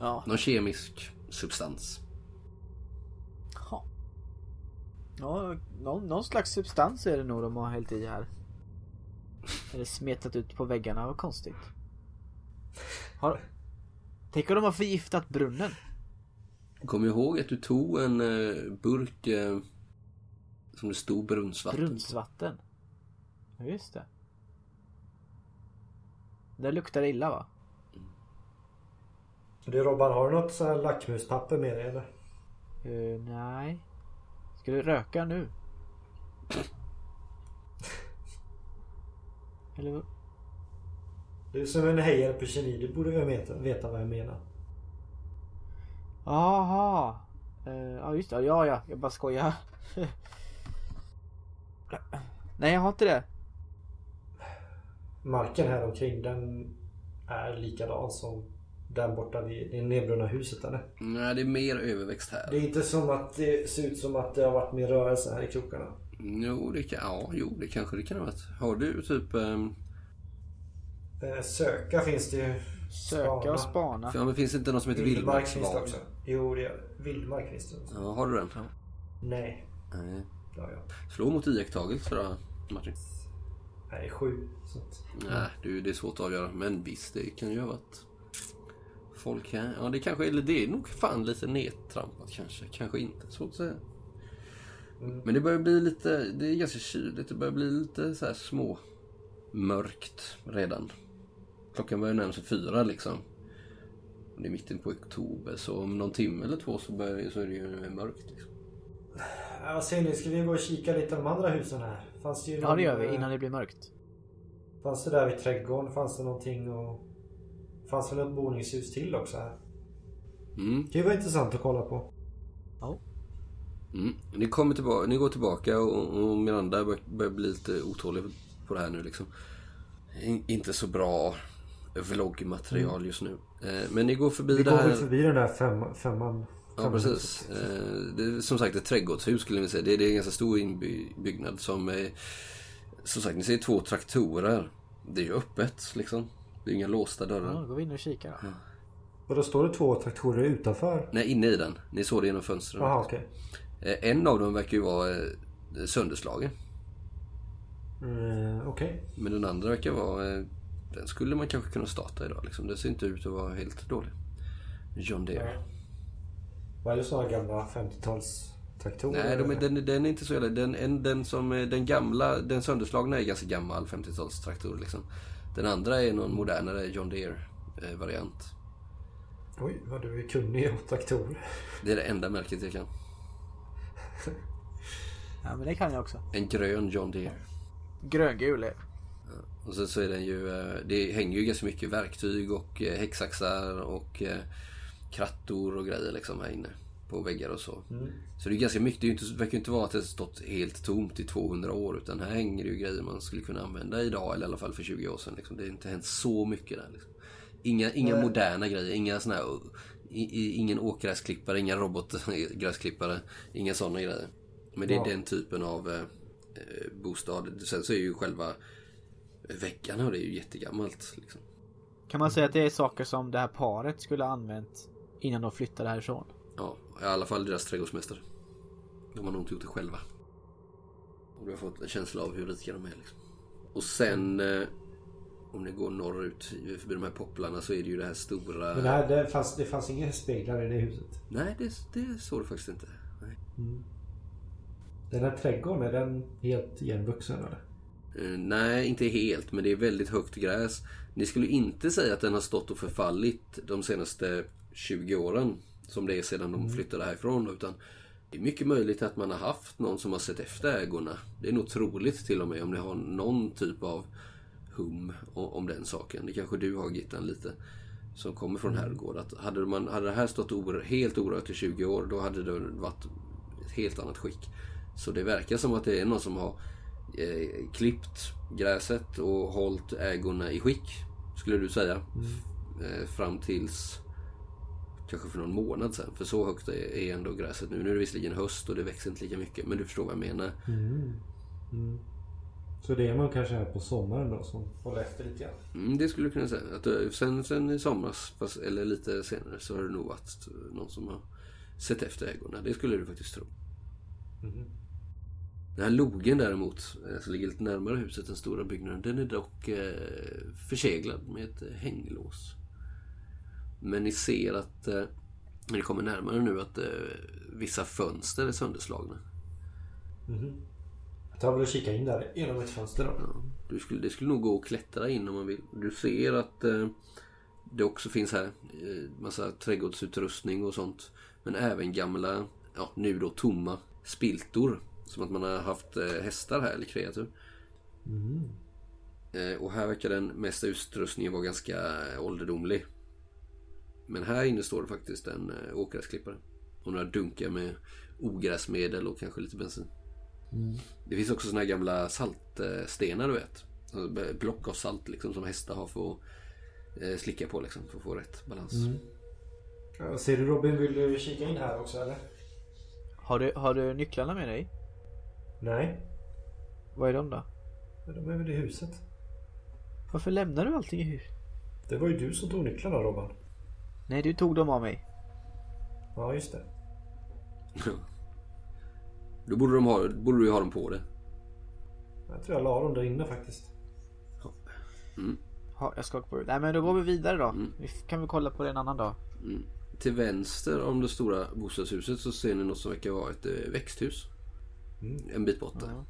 Ja. Någon kemisk substans. Ja. ja någon, någon slags substans är det nog de har hällt i här. Eller smetat ut på väggarna, vad konstigt. Har... Tänk om de har förgiftat brunnen. Kom ihåg att du tog en eh, burk eh, som det stod brunnsvatten på. Brunnsvatten. Ja, just det. Det luktar illa va? Du Robban, har du något så här lackmuspapper med dig eller? Eh, nej. Ska du röka nu? Eller vad? Du är som en hejare på kemi. Du borde väl veta, veta vad jag menar. Jaha! Eh, Ja just det, ja ja, jag bara skojar. Nej jag har inte det. Marken här omkring den är likadan som den borta vid det nedbrunna huset eller? Nej, det är mer överväxt här. Det är inte som att det ser ut som att det har varit mer rörelse här i krokarna. Jo, det kan, ja, jo, det kanske det kan ha varit. Har du typ... ehm, Eh, Söka finns det ju. Söka och spana. För, ja, men finns det inte något som heter Vildmark finns det vildmarksval? också. Jo, det gör det. Vildmark finns det också. Ja, har du den? Nej. Nej. det har jag. Slå mot iakttagelse då, Martin. Nej, sju. Så att... Nej, du, det är svårt att avgöra. Men visst, det kan ju ha varit folk här. Ja, det kanske eller det är nog fan lite nedtrampat kanske. Kanske inte. Svårt att säga. Men det börjar bli lite, det är ganska kyligt. Det börjar bli lite så här små mörkt redan. Klockan börjar närma sig fyra liksom. Och Det är mitten på oktober så om någon timme eller två så, börjar, så är det ju mörkt. Liksom. Ja, Vad säger ni? Ska vi gå och kika lite de andra husen här? Fanns det ju Ja någon, det gör vi, eh, innan det blir mörkt. Fanns det där vid trädgården? Fanns det någonting och... Fanns väl ett boningshus till också här? Mm. Det var intressant att kolla på. Ja. Mm. Ni, kommer tillbaka, ni går tillbaka och, och Miranda bör- börjar bli lite otålig på det här nu liksom. In, inte så bra vloggmaterial just nu. Eh, men ni går förbi Mm. Vi det går här. väl förbi den där femman. femman Ja, femman- precis. Eh, det är, som sagt ett trädgårdshus skulle ni säga. Det, det är en ganska stor inbyggnad som är... Som sagt, ni ser två traktorer. Det är ju öppet liksom. Det är inga låsta Ja, dörrar. då går vi in och kikar då. Och då står det två traktorer utanför. Nej, inne i den. Ni såg det genom fönstren. Jaha, okej. Eh, en av dem verkar ju vara eh, sönderslagen. Mm, okej. Men den andra verkar vara... eh, Den skulle man kanske kunna starta idag liksom. Den ser inte ut att vara helt dålig. John Deere. Vad är det sådana gamla 50-tals traktorer? Nej, de är, den, den är inte så jävla... Den, en, den, som, är- den gamla, den sönderslagna är ganska gammal 50-talstraktor liksom. Den andra är någon modernare John eh, Deere-variant. Oj, vad du är kunnig om traktorer. Det är det enda märket jag kan. Ja men det kan jag också. En grön John Deere. Gröngul är Och sen så är den ju... eh, Det hänger ju ganska mycket verktyg och eh, häcksaxar och eh, krattor och grejer liksom här inne. På väggar och så. Så det är ganska mycket. Det, är ju inte, det verkar ju inte vara att det har stått helt tomt i 200 år. Utan här hänger det ju grejer man skulle kunna använda idag. Eller i alla fall för 20 år sedan. Liksom. Det har inte hänt så mycket där. Liksom. Inga, inga moderna grejer. Inga såna här, i, i, ingen åkgräsklippare. Inga robotgräsklippare. Inga sådana grejer. Men det är Ja. den typen av eh, eh, bostad. Sen så är ju själva väggarna och det är ju jättegammalt. Liksom. Kan man säga att det är saker som det här paret skulle ha använt innan de flyttade härifrån? Ja, i alla fall deras trädgårdsmästare. De har nog inte gjort det själva. Och du har fått en känsla av hur rika de är. Liksom. Och sen eh, om ni går norrut förbi de här popplarna så är det ju det här stora... Men här, det, fanns, det fanns inga speglar i det huset. Nej, det, det såg du faktiskt inte. Nej. Den här trädgården, är den helt igenvuxen eller? Eh, nej, inte helt, men det är väldigt högt gräs. Ni skulle inte säga att den har stått och förfallit de senaste 20 åren som det är sedan de flyttade härifrån. Utan det är mycket möjligt att man har haft någon som har sett efter ägorna. Det är nog troligt till och med om ni har någon typ av hum o- om den saken. Det kanske du har Gittan lite. Som kommer från herrgård. Att hade, man, hade det här stått or, helt orört i 20 år då hade det varit ett helt annat skick. Så det verkar som att det är någon som har eh, klippt gräset och hållit ägorna i skick. Skulle du säga. F- Eh, fram tills kanske för någon månad sedan. För så högt är är ändå gräset nu. Nu är det visserligen höst och det växer inte lika mycket. Men du förstår vad jag menar. Mm. Mm. Så det är man kanske här på sommaren då som håller efter lite grann? Mm, det skulle jag kunna säga. Att, eh, sen, sen i somras, fast, eller lite senare, så har det nog varit någon som har sett efter ägorna. Det skulle du faktiskt tro. Mhm. Den här logen däremot, eh, som ligger lite närmare huset än stora byggnaden, den är dock eh, förseglad med ett eh, hänglås. Men ni ser att, eh, när ni kommer närmare nu, att eh, vissa fönster är sönderslagna. Mhm. Jag tar väl och kikar in där genom ett fönster då. Ja, du skulle, det skulle nog gå att klättra in om man vill. Du ser att eh, det också finns här eh, massa trädgårdsutrustning och sånt. Men även gamla, ja, nu då tomma spiltor. Som att man har haft eh, hästar här eller kreatur. Mm. Eh, och här verkar den mesta utrustningen vara ganska eh, ålderdomlig. Men här inne står det faktiskt en eh, åkgräsklippare. Och några dunkar med ogräsmedel och kanske lite bensin. Det finns också såna här gamla saltstenar du vet. Så b- Block av salt liksom som hästar har för att eh, slicka på liksom för att få rätt balans. Ja, Ser du Robin, vill du kika in här också eller? Har du, har du nycklarna med dig? Nej, Vad är de då? men de är väl i huset. Varför lämnar du allting i hus? Det var ju du som tog nycklarna Robban. Nej, du tog dem av mig. Ja, just det. Då borde, de ha, borde du ju ha dem på det. Jag tror jag la dem där inne faktiskt. Ha, jag skakar på huvudet. Nej, men då går vi vidare då. Mm. Vi f- kan vi kolla på det en annan dag. Mm. Till vänster om det stora bostadshuset så ser ni något som verkar vara ett eh, växthus. Mm. En bit bort där. Ja.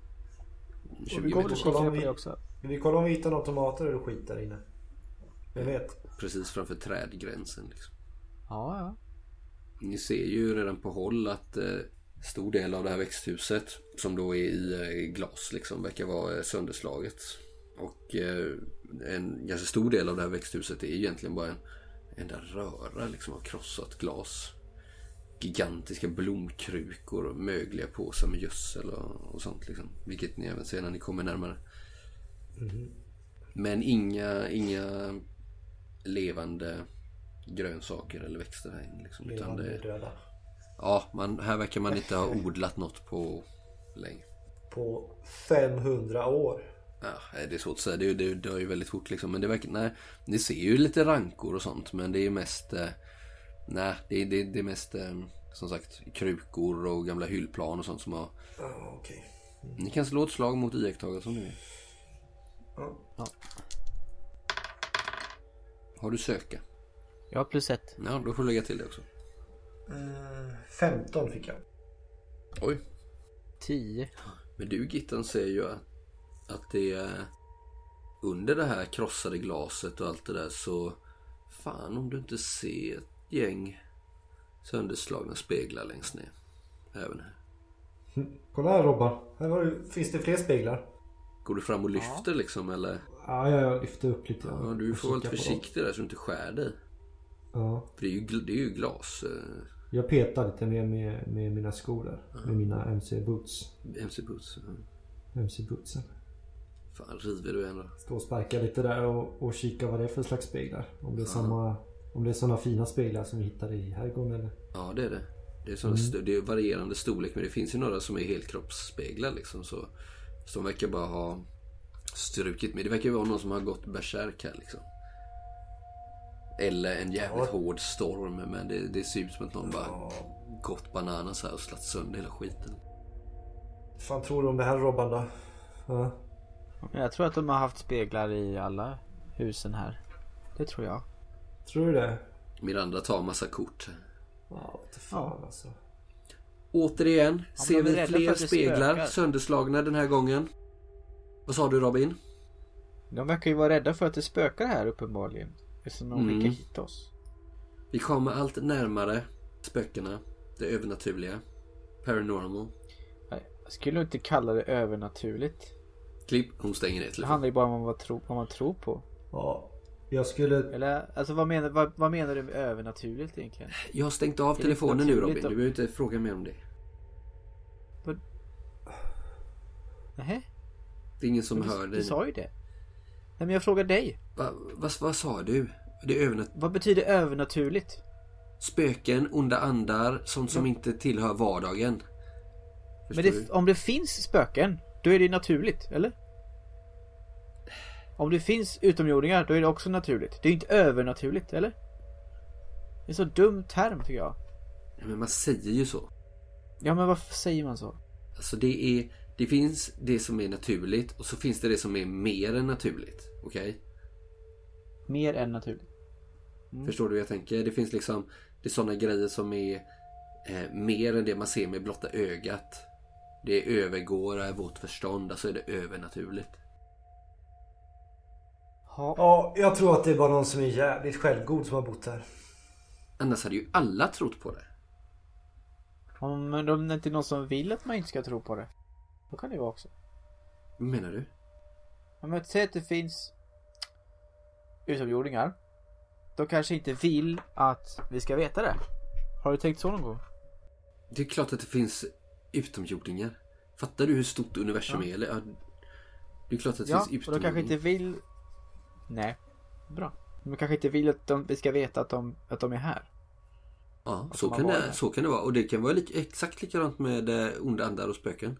20 Vi går väl meter och bort. kolla om kikar på vi- det också. Men vi kollar om vi hittar några tomater eller skit där inne. Jag vet. Precis framför trädgränsen. Liksom. Ja, ja. Ni ser ju redan på håll att eh, stor del av det här växthuset som då är i eh, glas liksom verkar vara eh, sönderslaget. Och eh, en ganska stor del av det här växthuset är ju egentligen bara en enda röra liksom av krossat glas. Gigantiska blomkrukor och mögliga påsar med gödsel och, och sånt liksom. Vilket ni även ser när ni kommer närmare. Men inga, inga levande grönsaker eller växter här inne. Liksom, utan Levande det, och döda. Ja, man, här verkar man inte ha odlat något på länge. På 500 år. Ja, nej, det är svårt att säga, det, är- det dör ju väldigt fort liksom. Men det verkar, nej, ni ser ju lite rankor och sånt. Men det är mest, eh, nej, det, är- det, är- det är mest eh, som sagt krukor och gamla hyllplan och sånt som har. Ja, okej. Ni kan slå ett slag mot iakttagelse om ni vill. Ja. Har du söka? Jag har plus ett. Ja, då får du lägga till det också. Eh, 15 fick jag. Oj, Tio. Men du Gittan ser ju att, att det är under det här krossade glaset och allt det där så fan om du inte ser ett gäng sönderslagna speglar längst ner. Även här. Mm. Kolla här Robban. Här har du, finns det fler speglar. Går du fram och lyfter liksom eller? Ja, jag lyfter upp lite. Ja, du får vara lite försiktig där så du inte skär dig. Ja. För det är ju, gl- det är ju glas. eh, Jag petar lite med, med, med mina skor där. Med mina MC-boots. MC Boots. ja. MC-bootsen. Fan river du ändå. Stå och sparka lite där och, och kika vad det är för slags speglar. Om det är samma... Om det är sådana fina speglar som vi hittade i herrgården eller? Ja det är det. Det är, såna, st- det är varierande storlek men det finns ju några som är helkroppsspeglar liksom. Så, så de verkar bara ha strukit med. Det verkar ju vara någon som har gått bärsärk här liksom. Eller en jävligt Ja. hård storm men det, det ser ut som att någon bara gått bananas här och slagit sönder hela skiten. fan tror du om det här Robban då? Ja. Men jag tror att de har haft speglar i alla husen här. Det tror jag. Tror du det? Miranda tar massa kort. Ja, inte fan alltså. Återigen men ser de är vi rädda för fler att det speglar spökar. sönderslagna den här gången. Vad sa du Robin? De verkar ju vara rädda för att det spökar här uppenbarligen. Eftersom de Mm. skickar hit oss. Vi kommer allt närmare spökena, det övernaturliga, paranormal. Nej, Jag skulle inte kalla det övernaturligt. Klipp, hon stänger ner Det telefonen. handlar ju bara om vad, tro, vad man tror på. Ja. Jag skulle... Eller alltså vad menar, vad, vad menar du med övernaturligt egentligen? Jag har stängt av Det är telefonen nu naturligt Robin, då. du behöver inte fråga mer om det. Nähä? Det är ingen som Du, hör du dig. sa ju det. Nej men jag frågar dig. Va, vad, vad sa du? Det är övernat... Vad betyder övernaturligt? spöken, onda andar, sånt som inte tillhör vardagen. Förstår Men du? det, om det finns spöken, då är det ju naturligt, eller? Om det finns utomjordingar, då är det också naturligt. Det är ju inte övernaturligt, eller? Det är en så dum term tycker jag. Nej, Men man säger ju så. Ja men varför säger man så? Alltså det är... Det finns det som är naturligt och så finns det det som är mer än naturligt. Okej? Mer än naturligt. Mm. Förstår du hur jag tänker? Det finns liksom... Det är sådana grejer som är eh, mer än det man ser med blotta ögat. Det övergår vårt förstånd. Alltså är det övernaturligt. Ja. Ja, jag tror att det är bara någon som är jävligt självgod som har bott här. Annars hade ju alla trott på det. Om men om det inte är någon som vill att man inte ska tro på det. Då kan det ju vara också. Vad menar du? Om jag säger att det finns utomjordingar. De kanske inte vill att vi ska veta det. Har du tänkt så någon gång? Det är klart att det finns utomjordingar. Fattar du hur stort universum är? Eller? Ja, det är klart att det Ja, finns och de kanske utomjordingar. inte vill... Nej, bra. De kanske inte vill att de, vi ska veta att de, att de är här. Ja, att så man kan, var det, där. så kan det vara. Och det kan vara lik, exakt likadant med eh, onda andar och spöken.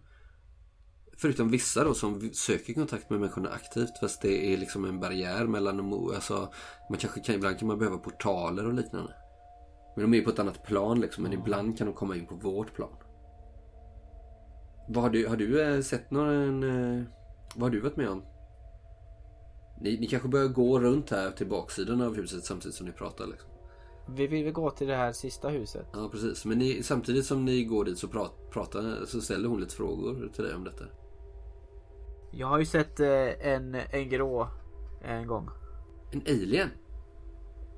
Förutom vissa då som v- söker kontakt med människorna aktivt fast det är liksom en barriär mellan dem. och- Alltså, man kanske kan, ibland kan man behöva portaler och liknande. Men de är ju på ett annat plan liksom. Mm. Men ibland kan de komma in på vårt plan. Vad har du, har du eh, sett någon... eh, Vad har du varit med om? Ni, ni kanske börjar gå runt här till baksidan av huset samtidigt som ni pratar liksom. Vi vill väl gå till det här sista huset. Ja precis, men ni, samtidigt som ni går dit så, prat, pratar, så ställer hon lite frågor till dig om detta. Jag har ju sett eh, en, en grå en gång. En alien?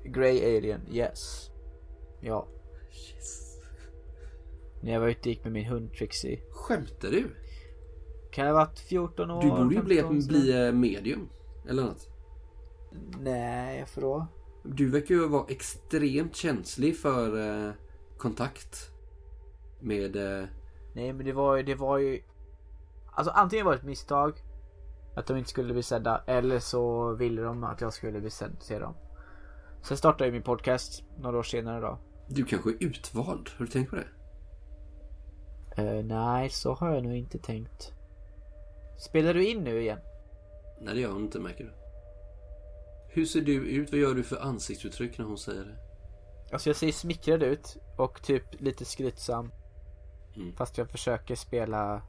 Grey Alien, yes. Ja. När jag var ute och gick med min hund Trixie. Skämtar du? Kan jag ha varit 14 år? Du borde ju bli, 15 bli eh, medium. Eller något. Nej, för då? Du verkar ju vara extremt känslig för eh, kontakt. Med... Eh, Nej men det var ju, det var ju Alltså antingen var det ett misstag Att de inte skulle bli sedda eller så ville de att jag skulle bli sedd, se dem Sen startade jag min podcast några år senare då du kanske är utvald? Har du tänkt på det? Eh, Nej så har jag nog inte tänkt Spelar du in nu igen? Nej det gör hon inte märker du. Hur ser du ut? Vad gör du för ansiktsuttryck när hon säger det? Alltså jag ser smickrad ut och typ lite skrytsam Mm. Fast jag försöker spela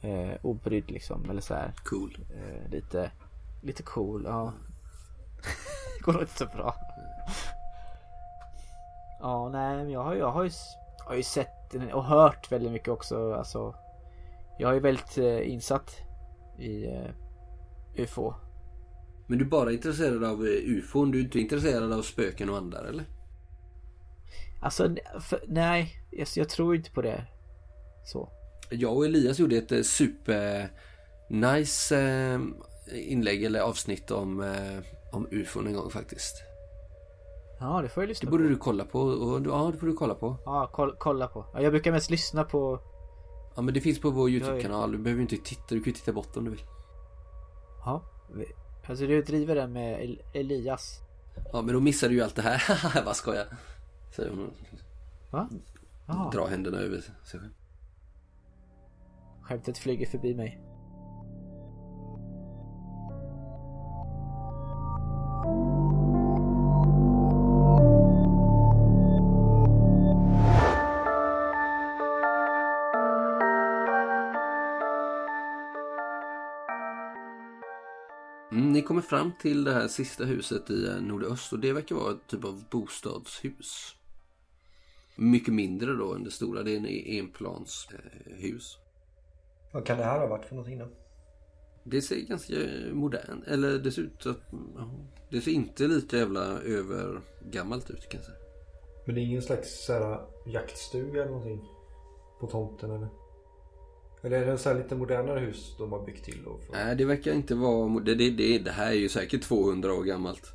eh, obrydd liksom eller så här. Cool. Eh, lite, lite cool, ja. Det går nog inte så bra. Ja, nej, men jag har, jag har, ju, s- har ju sett och hört väldigt mycket också. Alltså, jag är ju väldigt eh, insatt i eh, UFO. Men du är bara intresserad av eh, ufon? Du är inte intresserad av spöken och andar eller? Alltså, n- för, nej, jag, jag tror inte på det. Så. Jag och Elias gjorde ett eh, super nice eh, inlägg eller avsnitt om, eh, om ufon en gång faktiskt. Ja, det får jag lyssna Det borde på. du kolla på. Och, ja, det får du kolla på. Ja, koll, kolla på. Ja, jag brukar mest lyssna på... Ja, men det finns på vår YouTube-kanal. Du behöver inte titta. Du kan ju titta bort om du vill. Ja. vi- Alltså du driver den med El- Elias. Ja, men då missar du ju allt det här. Vad ska jag? Säger hon och Va? Ja. drar händerna över sig själv. Skämtet flyger förbi mig. Mm, ni kommer fram till det här sista huset i eh, nordöst och det verkar vara ett typ av bostadshus. Mycket mindre då än det stora. Det är en eh, enplanshus. Vad kan det här ha varit för någonting då? Det ser ganska modern eller det ser ut att ja, det ser inte lika jävla övergammalt ut kan jag säga. Men det är ingen slags så här, äh, jaktstuga eller någonting? På tomten eller? Eller är det en så här lite modernare hus de har byggt till? Då för... Nej, det verkar inte vara mo- det, det, det, det här är ju säkert 200 år gammalt.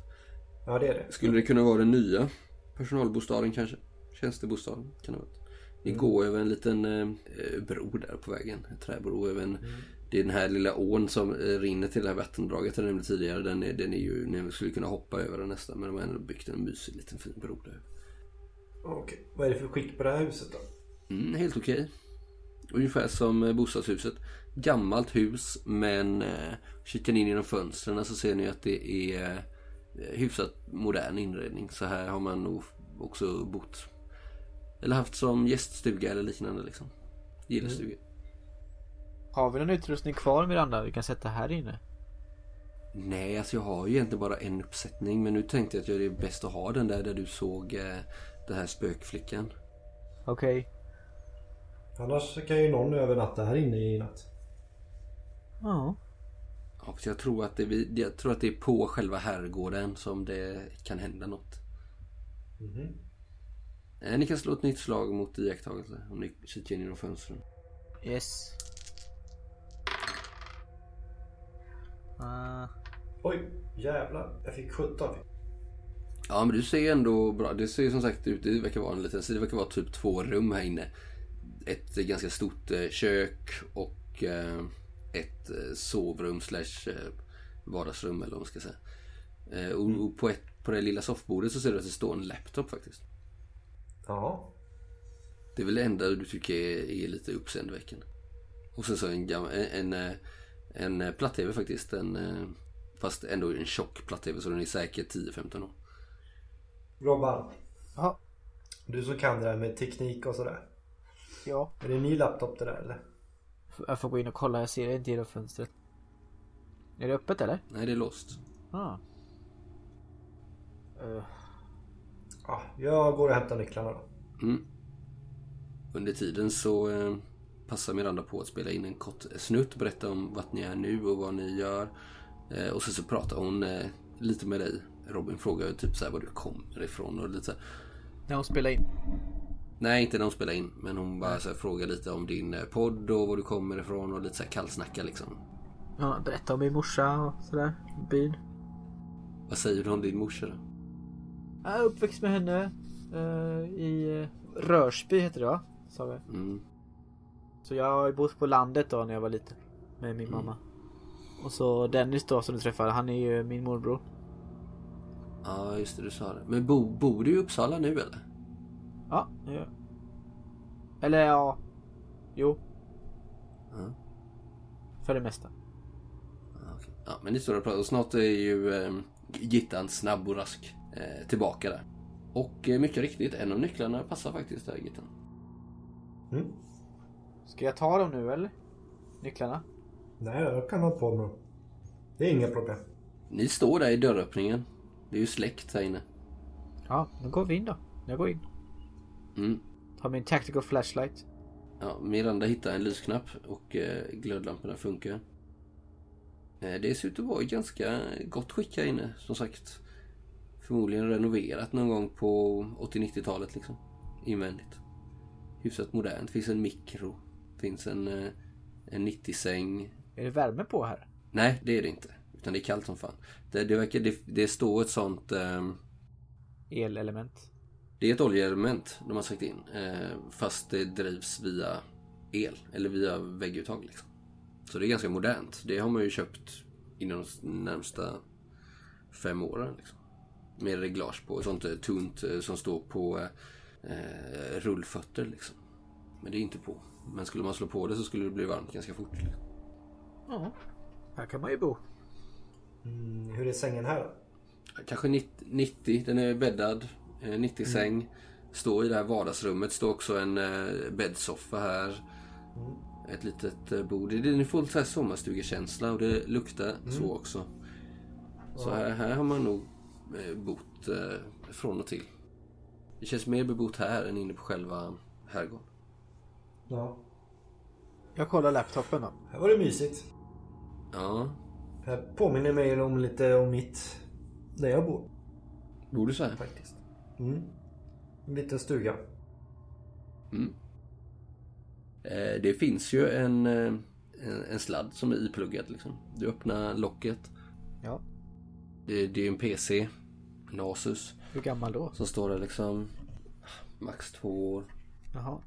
Ja det är det. Skulle det kunna vara den nya personalbostaden kanske? Tjänstebostaden kan det vara. Ni går över en liten eh, bro där på vägen. En träbro över en, Det är den här lilla ån som eh, rinner till det här vattendraget jag nämnde tidigare. Den är, den är ju, ni skulle kunna hoppa över den nästan men de har ändå byggt en mysig liten fin bro där. Okej. Vad är det för skick på det här huset då? Mm, helt okej. Ungefär som eh, bostadshuset. Gammalt hus men eh, kikar ni in genom fönstren så ser ni att det är eh, hyfsat modern inredning. Så här har man nog också bott. Eller haft som gäststuga eller liknande liksom. Gillestuga. Har vi någon utrustning kvar Miranda vi kan sätta här inne? Nej, alltså jag har ju egentligen bara en uppsättning men nu tänkte jag att det är bäst att ha den där där du såg eh, den här spökflickan. Okej. Annars kan ju någon övernatta här inne i natt. Ja. Ja, för jag, tror att det, vi- jag tror att det är på själva herrgården som det kan hända något. Eh, Ni kan slå ett nytt slag mot iakttagelse om ni kikar in genom fönstren. Yes. Ah, Oj, jävlar. Jag fick 17. Ja men du ser ändå bra. Det ser ju som sagt ut, det verkar vara en liten, så det verkar vara typ två rum här inne. Ett eh, ganska stort eh, kök och eh, ett eh, sovrum slash eh, vardagsrum eller vad man ska säga. Eh, Och och på, ett, på det lilla soffbordet så ser du att det står en laptop faktiskt. Ja. Det är väl det enda du tycker är, är lite uppseendeväckande. Och sen så en, gam- en, en, eh, en eh, platt-tv faktiskt. En, eh, fast ändå en tjock platt-tv så den är säkert 10-15 år. Robban. Ja. Du som kan det där med teknik och sådär. ja. Är det en ny laptop det där eller? F- Jag får gå in och kolla, jag ser det inte genom fönstret. Är det öppet eller? Nej, det är låst. Ja. Eh, Ja, jag går och hämtar nycklarna då. Mm. Under tiden så eh, passar Miranda på att spela in en kort snutt. Berätta om vart ni är nu och vad ni gör. Eh, och sen så pratar hon eh, lite med dig. Robin frågar ju typ så här var du kommer ifrån och lite så här. när hon spelar in. Nej, inte när hon spelar in. Men hon bara så här, frågar lite om din eh, podd och var du kommer ifrån och lite så här kallsnacka liksom. Ja, berätta om min morsa och sådär. Byn. Vad säger du om din morsa då? Jag är uppväxt med henne. eh, I eh, Rörsby heter det va? Sa vi. Mm. Så jag har ju bott på landet då när jag var liten. Med min mamma. Och så Dennis då som du träffade, han är ju min morbror. Ja, just det du sa det. Men bo, bor du i Uppsala nu eller? Ja, det gör jag. Eller ja. Jo, Ja. för det mesta. Ja, okej. Ja, men ni står och pratar. Och snart är ju eh, Gittan snabb och rask eh, tillbaka där. Och eh, mycket riktigt, en av nycklarna passar faktiskt där Gittan. Mm. Ska jag ta dem nu eller? Nycklarna? Nej, jag kan ha på mig dem. Det är inga problem. Ni står där i dörröppningen. Det är ju släkt här inne. Ja, då går vi in då. Jag går in. Mm. Tar min tactical flashlight. Ja, Miranda hittar en lysknapp och eh, glödlamporna funkar. Eh, det ser ut att vara i ganska gott skick här inne, som sagt. Förmodligen renoverat någon gång på 80-90-talet liksom. Invändigt. Hyfsat modernt. Finns en mikro. Finns en, eh, en 90-säng. Är det värme på här? Nej, det är det inte. Utan det är kallt som fan. Det, det, verkar, det, det står ett sånt... ehm, Elelement. det är ett oljeelement de har sagt in. Eh, fast det drivs via el, eller via vägguttag. Liksom. Så det är ganska modernt. Det har man ju köpt inom de närmsta fem åren. Liksom. Med reglage på, ett sånt eh, tunt eh, som står på eh, rullfötter. Liksom. Men det är inte på. Men skulle man slå på det så skulle det bli varmt ganska fort. Liksom. Ja. Här kan man ju bo. Mm, hur är sängen här då? Kanske 90, 90 den är bäddad. eh, 90 säng. Står i det här vardagsrummet. Står också en eh, bäddsoffa här. Mm. Ett litet eh, bord. Det- Ni får lite så här sommarstugekänsla och det luktar så också. Så här, här har man nog eh, bott eh, från och till. Det känns mer bebott här än inne på själva herrgården. Ja. Jag kollar laptopen då. Här var det mysigt. Ja, Det här påminner mig om lite om mitt... Där jag bor bor du så här? faktiskt. Mm. En liten stuga. Mm. Eh, Det finns ju en, eh, en, en sladd som är ipluggad. Liksom. Du öppnar locket. Ja. Det, det är ju en PC. En Asus. Hur gammal då? Som står det liksom max två år. Jaha.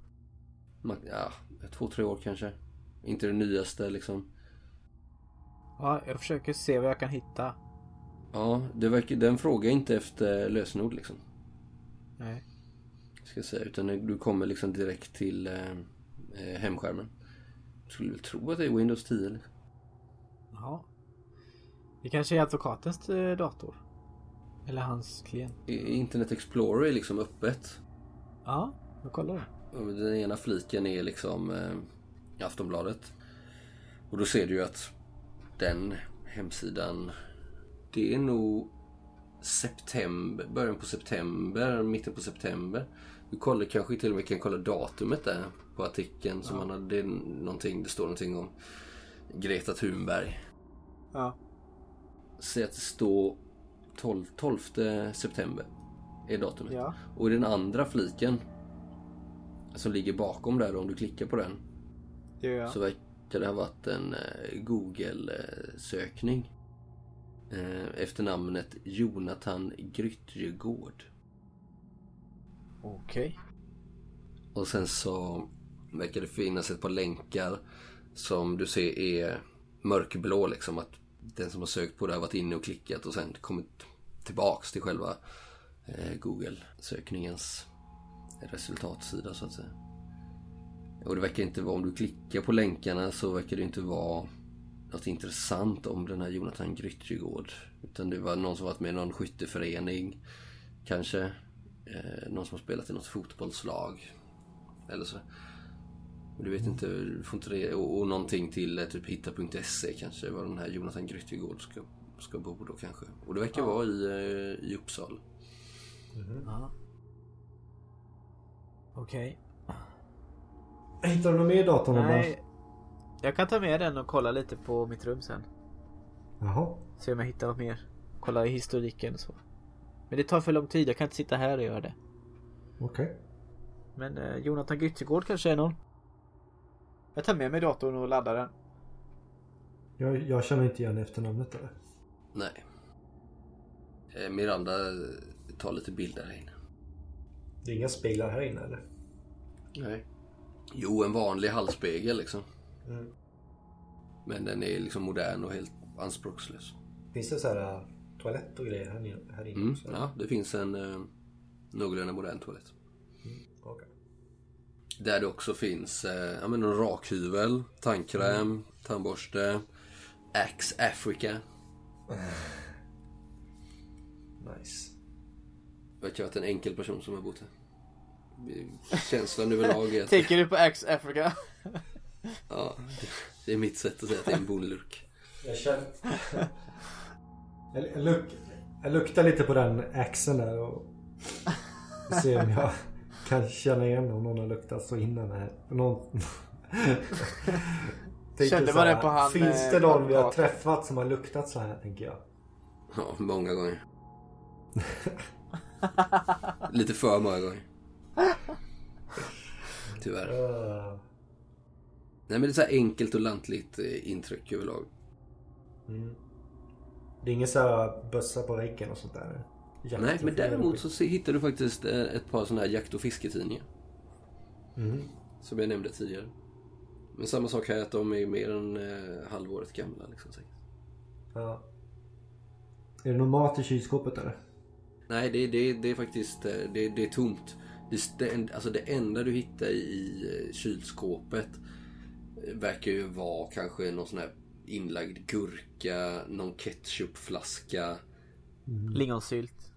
Max, ja, två, tre år kanske. Inte det nyaste liksom. Ja, jag försöker se vad jag kan hitta. Ja, det verkar, den frågar inte efter lösenord liksom. Nej. Så Ska jag säga. Utan du kommer liksom direkt till eh, eh, hemskärmen. Skulle väl tro att det är Windows 10 liksom. Ja. Det kanske är advokatens eh, dator. Eller hans klient. I- Internet Explorer är liksom öppet. Ja, jag kollar det. Och Den ena fliken är liksom eh, Aftonbladet. Och då ser du ju att den hemsidan, det är nog september, början på september, mitten på september. Du kollar, kanske till och med kan kolla datumet där på artikeln. Som han hade, det, är någonting, det står någonting om Greta Thunberg. Ja. Säg att det står 12, 12 september är datumet. Ja. Och i den andra fliken som ligger bakom där, om du klickar på den, Det gör jag. så verkar det ha varit en eh, Google-sökning. eh, Efter namnet Jonathan Grytjegård. Okej. Och sen så verkar det finnas ett par länkar som du ser är mörkblå liksom. Att den som har sökt på det har varit inne och klickat och sen kommit tillbaks till själva eh, Google-sökningens resultatsida så att säga. Och det verkar inte vara, om du klickar på länkarna så verkar det inte vara något intressant om den här Jonathan Grytjegård. Utan det var någon som varit med i någon skytteförening kanske. Eh, någon som har spelat i något fotbollslag. Eller så. Och du vet inte, du får inte det. Och, och någonting till eh, typ hitta.se kanske. Var den här Jonathan Grytjegård ska, ska bo då kanske. Och det verkar vara i, eh, i Uppsala. Mhm. Ja. Okej. Hittar du något mer i datorn? Ola? Nej. Jag kan ta med den och kolla lite på mitt rum sen. Jaha. Se om jag hittar något mer. Kolla i historiken och så. Men det tar för lång tid. Jag kan inte sitta här och göra det. Okej. Men eh, Jonathan Gyttegård kanske är någon. Jag tar med mig datorn och laddar den. Jag, jag känner inte igen efternamnet där. Nej. Eh, Miranda tar lite bilder här inne. Det är inga speglar här inne eller? Nej. Jo, en vanlig halsspegel liksom. Mm. Men den är liksom modern och helt anspråkslös. Finns det så här äh, toalett och grejer här inne? Här inne Mm. också? Ja, det finns en eh, någorlunda modern toalett. Okej. Där det också finns eh, ja, men en rakhyvel, tandkräm, tandborste, Axe Africa. Nice. Verkar vara en enkel person som har bott här. Vi- Känslan överlag är att Tänker du på Axe Africa? ja, det är mitt sätt att säga att det är en bondelurk. Jag känner... jag, jag, luk... jag luktar lite på den axeln där och ser om jag kan känna igen om någon har luktat så innan här. Någon... Tänker Kände så man här, det på han, Finns det eh, någon vi har advokaten? träffat som har luktat så här tänker jag. Ja, många gånger. Lite för många gånger. Tyvärr. Eh, Nej men det är så här enkelt och lantligt eh, intryck överlag. Mm. Det är ingen så här bössa på väggen och sånt där? Jakt- Nej men däremot så se- hittar du faktiskt eh, ett par sådana här jakt och fisketidningar. Mm. Som jag nämnde tidigare. Men samma sak här att de är mer än eh, halvåret gamla liksom. säkert. Ja. Är det någon mat i kylskåpet eller? Nej det, det, det är faktiskt eh, det, det är tomt. Det, st- det, en- alltså det enda du hittar i eh, kylskåpet eh, verkar ju vara kanske någon sån här inlagd gurka, någon ketchupflaska. Lingonsylt.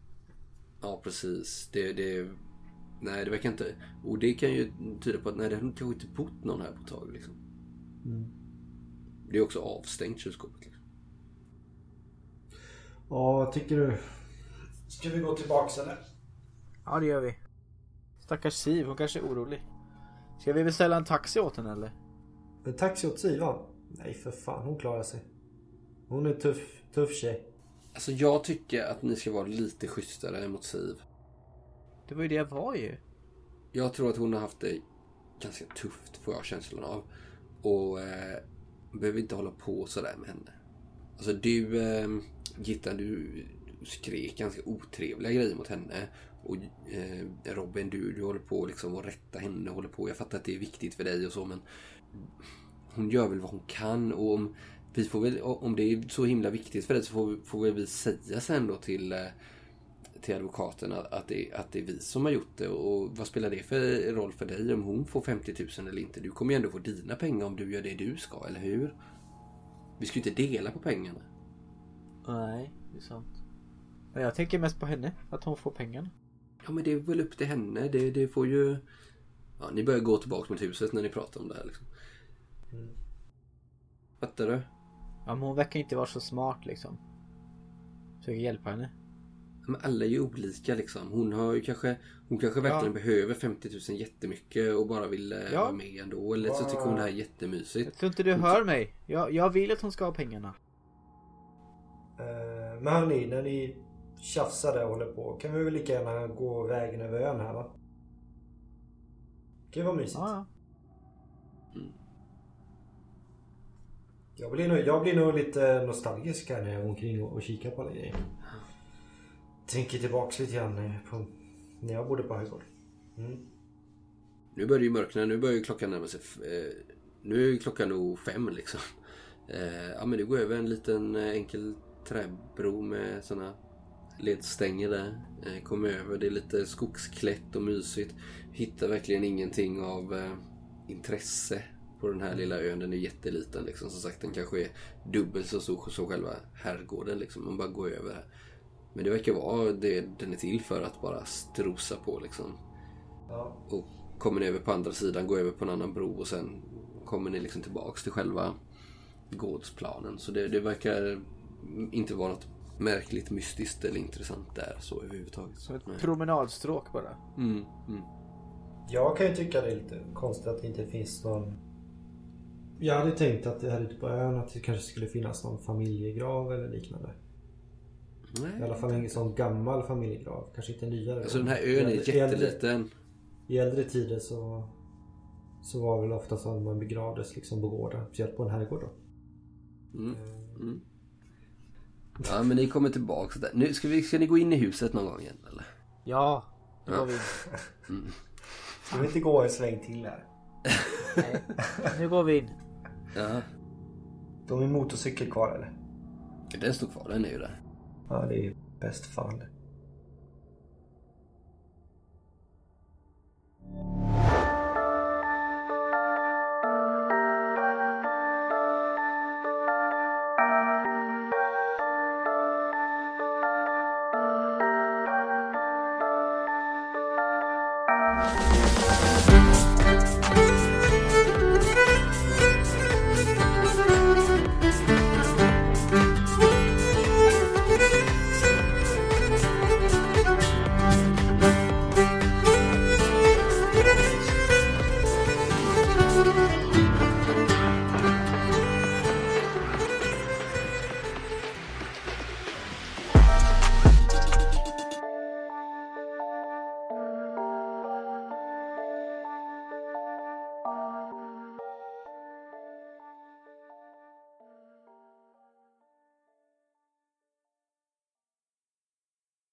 Ja, precis. Det, det... Nej, det verkar inte... Och det kan ju tyda på att nej, det har kanske inte bott någon här på ett tag. Liksom. Det är också avstängt kylskåpet. Liksom. Ja, vad tycker du? Ska vi gå tillbaks eller? Ja det gör vi. Stackars Siv, hon kanske är orolig. Ska vi beställa en taxi åt henne eller? En taxi åt Sivan? Nej för fan, hon klarar sig. Hon är tuff, tuff tjej. Alltså, jag tycker att ni ska vara lite schysstare mot Siv. Det var ju det jag var ju. Jag tror att hon har haft det ganska tufft, får jag känslan av. Och eh, behöver inte hålla på sådär med henne. Alltså du, eh, Gittan, du skrek ganska otrevliga grejer mot henne. Och eh, Robin, du, du håller på liksom att rätta henne. Håller på. Jag fattar att det är viktigt för dig och så, men hon gör väl vad hon kan. Och om, vi får väl, om det är så himla viktigt för dig så får, får väl vi säga sen då till eh, till advokaten att, att, det, att det är vi som har gjort det och vad spelar det för roll för dig om hon får 50 000 eller inte? Du kommer ju ändå få dina pengar om du gör det du ska, eller hur? Vi ska ju inte dela på pengarna. Nej, det är sant. Men jag tänker mest på henne, att hon får pengarna. Ja men det är väl upp till henne. Det, det får ju... Ja, ni börjar gå tillbaka mot huset när ni pratar om det här liksom. Mm. Fattar du? Ja, men hon verkar inte vara så smart liksom. Försöker hjälpa henne. Ja, Men alla är ju olika liksom. Hon har ju kanske... Hon kanske verkligen behöver 50 000 jättemycket och bara vill eh, Ja. vara med ändå. Eller så tycker hon det här är jättemysigt. Jag tror inte du hör mig. Jag, jag vill att hon ska ha pengarna. Eh, Men hörni, när ni tjafsar där och håller på kan vi väl lika gärna gå vägen över ön här va? Det kan ju vara mysigt. Ja, ja. Jag, blir nog, jag blir nog lite nostalgisk här när jag går omkring och, och kikar på alla grejer. Tänker tillbaks lite grann eh, på när jag bodde på Högård. Mm. Nu börjar det ju mörkna, nu börjar ju klockan närma sig... f- Eh, nu är ju klockan nog fem liksom. Eh, ja men det går över en liten eh, enkel träbro med såna ledstänger där. Eh, kommer över, det är lite skogsklätt och mysigt. Hittar verkligen ingenting av eh, intresse på den här lilla ön. Den är jätteliten liksom. Som sagt den kanske är dubbelt så stor som själva herrgården liksom. Man bara går över här. Men det verkar vara det den är till för att bara strosa på liksom Ja. och kommer ni över på andra sidan, går över på en annan bro och sen kommer ni liksom tillbaks till själva gårdsplanen. Så det, det verkar inte vara något märkligt mystiskt eller intressant där så överhuvudtaget. Som ett Nej. promenadstråk bara. Mm, mm. Jag kan ju tycka det är lite konstigt att det inte finns någon... Jag hade tänkt att det här ute på ön att det kanske skulle finnas någon familjegrav eller liknande. I alla Nej. fall ingen sån gammal familjegrav. Kanske inte nyare. Mm. Alltså den här ön I är äldre- i äldre- jätteliten. I äldre tider så, så var det väl ofta så att man begravdes liksom på gården. Speciellt på en herrgård då. Mm. Ja men ni kommer tillbaks där. Nu ska, vi, ska ni gå in i huset någon gång igen eller? Ja, det Ja. var vi. Ska vi inte gå en sväng till här? Nej. Nu går vi in. Ja. De är motorcykel kvar eller? Den står kvar, den är ju där. Ja, det är ju bäst fan.